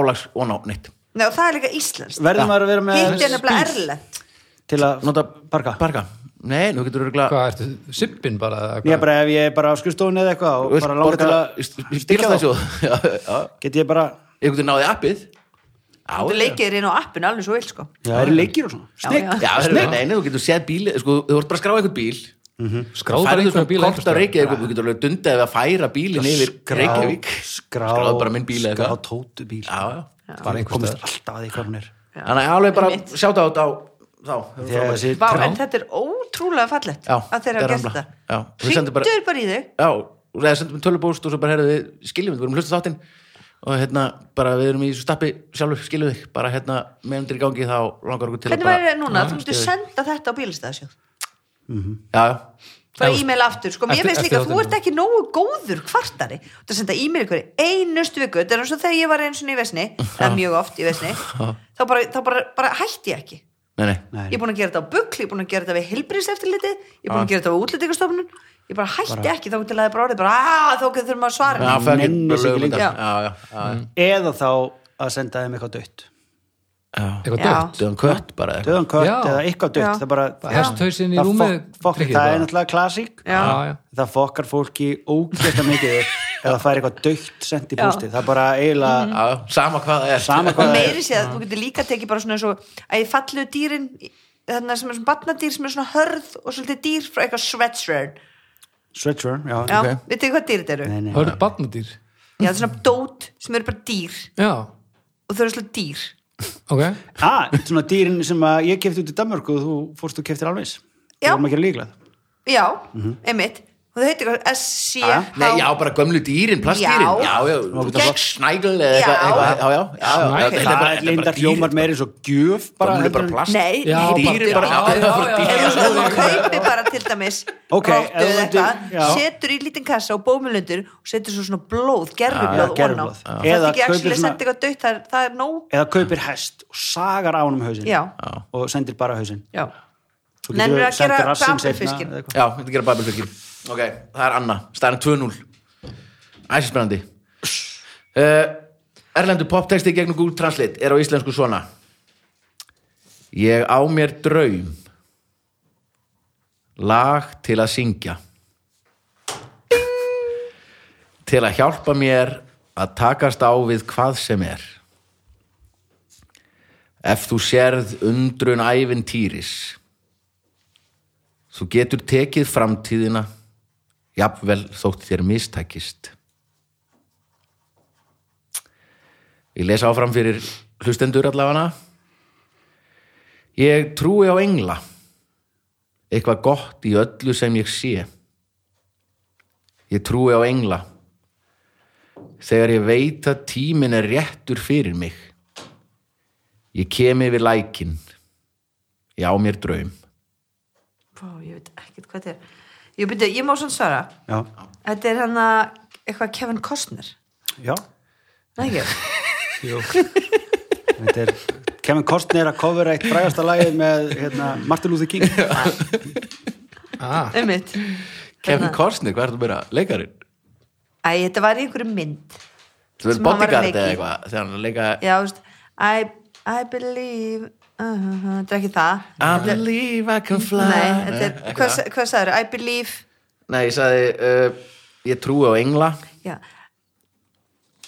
A: álags og ná, neitt
C: Nei, og það er líka íslenskt
D: verður maður að vera
C: hitt er
D: með
C: nefnilega erlend
D: til að
A: nota
D: parka
A: parka, nei, nú getur röglega
B: Hvað ertu, sippin bara? eða
D: ég
B: hvað?
D: bara ef ég er bara á skrifstofunni eða eitthvað og bara langar til að styrkja þá
A: <laughs> styrkja þá
D: get ég bara
A: einhvern veginn náði appið á,
C: þú leikir þér inn á appinu alveg svo vilt sko
D: já, það eru leikir og svona
C: Já,
D: snygg
C: já.
A: Já, það er neina, þú getur séð bíli sko, þú ert bara að skráa einhvern bíl
B: Skráðu bara
A: færðu
B: einhverja
A: svona
B: bíla einhvers
A: kort á
B: staðar.
A: Reykjavík og þú getur alveg dundið ef að færa bílinn yfir Reykjavík
D: skrá
A: Skráðu bara minn bíl eða
D: skrá
A: eitthvað.
D: tótu bíl
A: Já, já.
D: bara komist alltaf að því hvað hún er
A: Þannig að alveg bara sjáta á þá þá, það
D: þegar
A: er
D: þessi
C: Vá, en þetta er ótrúlega fallett
A: Já,
C: að þeir
A: þetta
C: hafa
A: er
C: gert
A: nefnilega-
C: þetta
A: já, við sendum bara-
C: hringduður bara í þig
A: Já, og það sendum við tölubóst og svo bara heyrðu við skiljum við, við erum hlustu þáttinn og hérna, bara við erum í þessu stappi sjálfur, skiljum þig, bara hérna meðandir í gangi þá langar okkur til
C: hvernig
A: bara
C: væri það núna, þú myndir senda þetta á bílastæðasjóð
A: Já, já,
C: bara
B: Já.
C: e-mail aftur, sko, mér
B: Eftir-
C: finnst
B: eftir
C: líka þú
B: þáttinn.
C: ert ekki nógu góður kvartari þú senda e-mail ykkur einustu viku þetta er eins og þegar ég var eins og í vesni eða mjög oft í vesni þá, bara, þá bara, bara hætti ég ekki
A: nei, nei Ah.
D: Nei.
C: ég er búin að gera þetta á bukli, ég er búin að gera þetta við helbriðseftiliti, ég er búin að gera þetta á útlendingastofnun ég bara hætti ekki, þá til að það bara orðið bara, að þá þurfum að svara
A: Já, fuck it,
D: Nenni
A: bara
D: sig ekki
A: lögum
D: lengur.
A: þetta. Já, já, já,
D: eða þá að senda þeim eitthvað dött
A: já.
B: Eitthvað
C: Já.
B: dött.
A: Döðan kött bara eða
D: Mm.
A: eitthvað.
D: döðan kött
B: Já.
D: eða eitthvað
C: Já.
D: dött það bara
B: Það hesthausin í
D: það
B: rúmið
D: fokk- fokk-
B: tryggir
D: það
B: bara.
D: er náttúrulega klassík
C: Já.
B: Já, já.
D: það fokkar fólki ógæsta mikið upp ef það fær eitthvað dögt sendt í bústi það er bara eiginlega
A: Já, já, sama hvað það er
D: sama
C: og
D: hvað það er
C: Mhm. meiri séð, þú getur líka tekið bara svona eins og að ég fallu dýrin þannig sem er svona batnadýr sem er svona hörð og svolítið dýr frá eitthvað sweatshirt
D: Sweatshirt, já,
C: já,
A: Ok.
C: okay. veitu hvað dýr þetta eru?
D: Nei, nei.
B: Hörðu barnadýr.
C: Já, það er svona dót sem eru bara dýr
B: Já,
C: og þau eru svona dýr
B: ok.
D: Ah, svona dýrin sem að ég kefti út í Danmörku og þú fórst og keftir alveg það
C: Já.
D: var maður ekki líklað
C: Já, einmitt og þau heitir eitthvað S-C
D: Ah,
A: Nei, já, bara gömlu dýrin, plastdýrin Já,
C: Já.
A: já,
C: Gegn-
A: já snægl eða eitthvað
C: Já.
A: eitthvað, Já, já, já, já,
B: Snægl.
A: já, þetta er bara-
D: það
A: þetta er bara
D: lindar
A: dýr.
D: hljómar meira eins og gjöf bara,
A: Gömlu
D: heldur
A: bara
D: en-
A: plast
C: Nei,
B: Já,
C: nei,
A: Dýr er bara
B: bara- já,
A: já,
B: já,
A: bara
B: já,
A: dýr.
B: já.
C: eða svona þú kaupir bara til dæmis
D: Ok, ef
C: rottu
D: þú
C: eða
D: myndir- já.
C: eitthvað setur í lítinn kassa og bómulundur og setur svo svona blóð,
D: Já,
C: gerfublóð
D: já,
C: ofan á.
D: gerviblóð.
C: það
D: Eða
C: er ekki
D: kaupir
C: actually að
D: svona-
C: senda eitthvað dött það er- það er nóg
D: eða kaupir hest og sagar á hann um hausin
C: Já.
D: og sendir bara hausin
C: Já.
D: Svo getur
C: Nennir
D: þú
C: að
D: sent
C: gera
D: rassinn seinna
C: babelfiskinn.
D: eða eitthvað.
A: Já, þetta gera babelfyrkir Ok, það er Anna, staðan 2-0 Æsinsbrandi uh, Erlendu poptexti gegnum Google Translate er á íslensku svona Ég á mér draum Lag til að syngja Til að hjálpa mér að takast á við hvað sem er Ef þú sérð undrun ævintýris Þú getur tekið framtíðina jafnvel þótt þér mistækist. Ég les áfram fyrir hlustendur allafana. Ég trúi á engla. eitthvað gott í öllu sem ég sé ég trúi á engla þegar ég veit að tíminn er réttur fyrir mig ég kem yfir lækin ég á mér draum
C: Vá, ég veit ekkert hvað þetta er ég, byrja, ég má svona svara
D: já,
C: þetta er hann að eitthvað Kevin Costner
D: já.
C: Nei, ekki?
B: Jú.
D: Þetta er Kevin Costner að covera eitt frægasta lagið með hérna, Martin Luther King
B: Ah,
C: Einmitt.
A: Kevin Costner, hvað er þetta meira? Leikarinn?
C: Æ, þetta var í einhverju mynd
A: Þú verður
C: Sem hann var að
A: bodyguard eða
C: leika í.
A: eitthvað þegar hann er að leika
C: já, þú veist I, I believe uh, uh, uh, þetta er ekki það
A: I believe I can fly
C: Nei, þetta er,
A: ekki
C: hvað,
A: það.
C: sa- hvað sagður? I believe
A: Nei, ég sagði uh, ég trúi á engla <laughs>
C: já,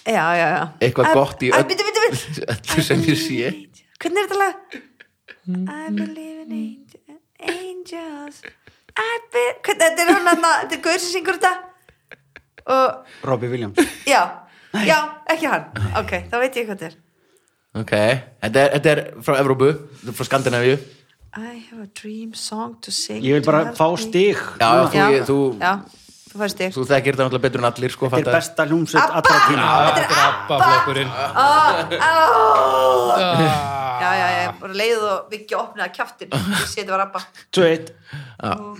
C: já, já, já.
A: eitthvað
C: I-
A: gott í
C: I-
A: öll-
C: bíddu, bíddu, bíddu.
A: öllu sem ég sé
C: hvernig er þetta lag?
A: Hmm.
C: I believe in angel, angels I be, hvernig, þetta er hann að þetta er gaur sem syngur þetta og
D: Robbie Williams
C: já, já, ekki hann ok, þá veit ég hvað þetta er
A: Ok, þetta er, þetta er frá Evrópu þetta er frá Skandinavíu Já,
C: I have a dream song to sing
D: Ég vil
C: to
D: bara
C: help
D: fá
C: me.
D: stig
A: já, þú,
C: já,
A: ég, þú,
C: já, þú færst ég
A: þú þekkir þetta náttúrulega betur en allir sko,
D: Þetta er
A: fattaðu.
D: besta hljómsveit allra tíma
B: þetta er abbaflokkurinn.
C: oh,
B: Ah,
C: já, já, já, bara leið og vikja opnaði kjaftin ég sé þetta var abba
D: Svo eitt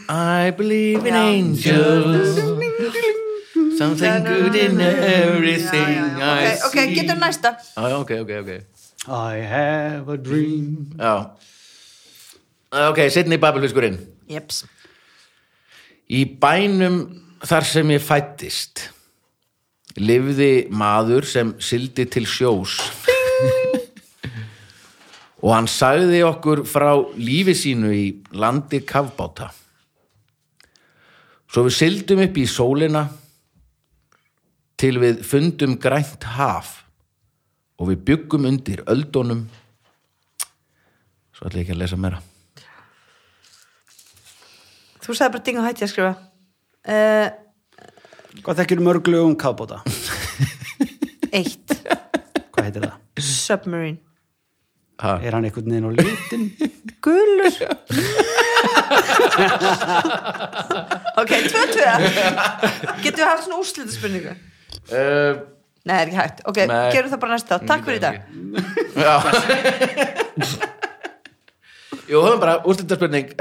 A: I believe in
C: Já.
A: angels Something good in everything
C: Já, já, já.
A: I
C: ok, okay
A: see.
C: getur næsta
A: Já, já, ok, ok, ok
D: I have a dream
A: Já Ok, setni babelfiskurinn
C: jeps
A: Í bænum þar sem ég fættist lifði maður sem sildi til sjós og hann sagði okkur frá lífi sínu í landi kafbáta svo við sildum upp í sólina til við fundum grænt haf og við byggum undir öldunum svo ætla ég ekki að lesa meira
C: þú sagði bara ding og hætti að skrifa uh,
D: Hvað þekkir mörglu um kafbóta?
C: eitt
D: Hvað heitir það?
C: submarine
A: ha,
D: Er hann einhvern veginn á litin?
C: gulur ok, tvö tvö getur við haft svona úrslita spurningu
A: uh,
C: nei, það er ekki hægt, ok,
A: Nei.
C: gerum það bara næsta takk fyrir í dag
A: Jú, höfum bara úrstildarspurning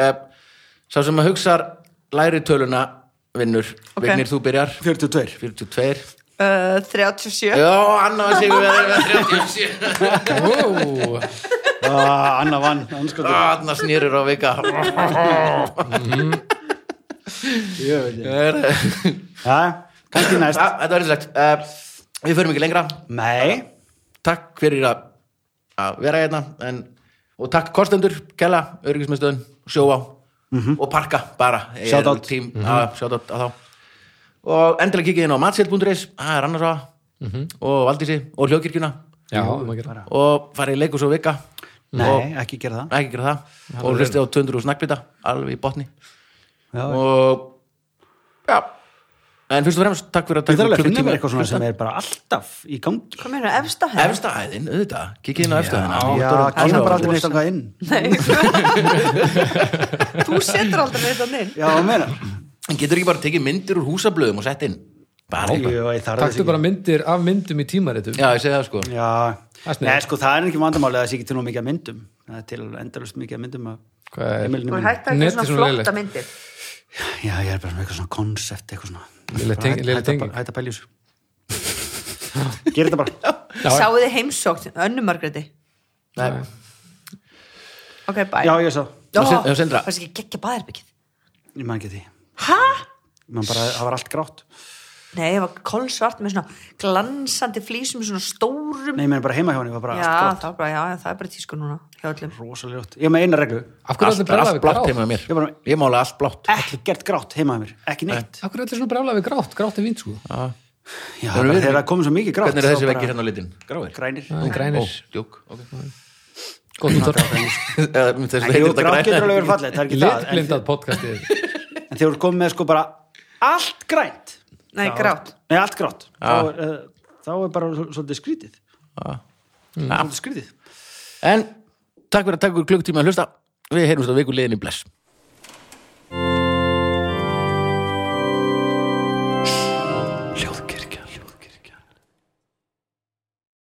A: Sá sem að hugsa læri töluna vinnur
C: Ok.
A: Vignir, þú byrjar
D: 42
A: 42
C: uh, 37
A: Já, Anna var sigur við 37
B: ó,
D: ah, Anna vann
A: Ó,
D: anskotin.
A: Anna snýrur á vika
D: Ég veit ég.
A: Er-
D: Já, kannski
A: Já,
D: næst
A: Þetta var einslegt Við förum ekki lengra
D: Nei,
A: Takk fyrir að að vera hérna en, Og takk kostendur, Kella, öryggismistöðun Sjóvá og Parka bara Ég er
D: Mhm. Shoutout. Mhm.
A: tím, mm Shoutout að þá Og endilega kikið inn á matselt.is Það er annars á Og Valdísi og Hljókirkjuna
B: já, um að gera.
A: Og farið í leikus og vika Og
D: nei, ekki gera það
A: ekki gera það Og hlustið á 200 snakkbita Alveg í botni
D: Já.
A: Og Já En fyrst og fremst, takk fyrir að
D: Ég
A: takk
D: þarf alveg að
A: fyrir
D: finna mér eitthvað svona sem er bara alltaf í gangi
C: hvað meina, efsta hérna, hæð
A: Efsta hæðin, auðvitað, kikið inn á efsta hæðina
D: Já,
A: Náttúrulega-
D: kemur bara aldrei
A: Náttúrulega-
D: neitt þangað inn
C: þú setur aldrei neitt að neinn
D: Já, að
B: <laughs>
D: meina
A: En getur ekki bara tekið myndir úr húsablöðum og sett inn? Bara eitthvað.
D: Jú, ég þarf þess
B: Taktu
D: ekki
B: bara myndir af myndum í tímaritum.
A: Já, ég segi það sko.
D: Já,
B: Það er sniðugt.
D: Nei, sko, það er ekki vandamáli að það sé ekki til nú mikið af myndum það er til endalust mikið af myndum af
B: Hvað er-
D: heimilinu
C: þú er
D: mínu.
C: hægt að ekki
B: Netið
C: svona
B: svona
C: flotta
B: lélegt.
C: myndir
D: Já, ég er bara með eitthvað svona konsept eitthvað svona
B: Léleg teng-
D: Bara
B: léleg
D: hætta-
B: tenging.
D: Hætta pæljus
B: <laughs>
D: Gerið þetta bara
B: Já, já.
C: sáu þið heimsókn, önnu Margréti
A: Nei.
C: ok, bye
D: Já, ég sá,
A: Og Sin- og Sindra.
C: fannst ekki geggja baðherbyggið
D: ég man ekki því
C: hæ?
D: Man bara, það var allt grátt
C: Nei, ég var kolsvart með svona glansandi flísum, svona stórum
D: Nei, ég meina bara heima hjá henni, var bara
C: Já,
D: allt
C: það, er bara, já, það er bara tísku núna hjá öllum.
D: grátt Rosalega grátt Ég var með eina reglu
B: Af
A: Allt,
B: hverju allir brjála
A: allt
B: við
A: blátt
B: grátt?
A: heima hjá mér.
D: Ég bara-
A: Ég mála allt blátt.
D: Ekki gert grátt heima hjá mér, ekki neitt
B: Af hverju allir svona brjála við grátt? Grátt er vín, sko.
D: Já,
A: Erum
D: bara
A: við-
D: þegar það komið svo mikið grátt
A: Hvernig
D: þá
A: er þessi
D: bara-
A: veggir hérna á litin? Gráir?
D: Grænir
B: Það er
A: Ó,
B: grænir.
A: djúk.
D: <laughs>
A: ok.
B: Góð útvar.
A: Eða,
D: En
A: Þessi
D: Jú,
A: heitir þetta
D: grátt getur alveg
A: græn.
D: verið fallið, það er ekki það en-
B: Litblindað podcastið.
D: En þegar þú ert komið með sko bara allt grænt
C: Nei, grátt.
D: Nei, allt grátt
A: Já.
D: þá, er, uh, þá er bara svo- svolítið skrítið
A: Ah.
D: Svolítið skrítið
A: En takk fyrir að taka ykkur klukktíma að hlusta. Við heyrumst á viku liðinni bless.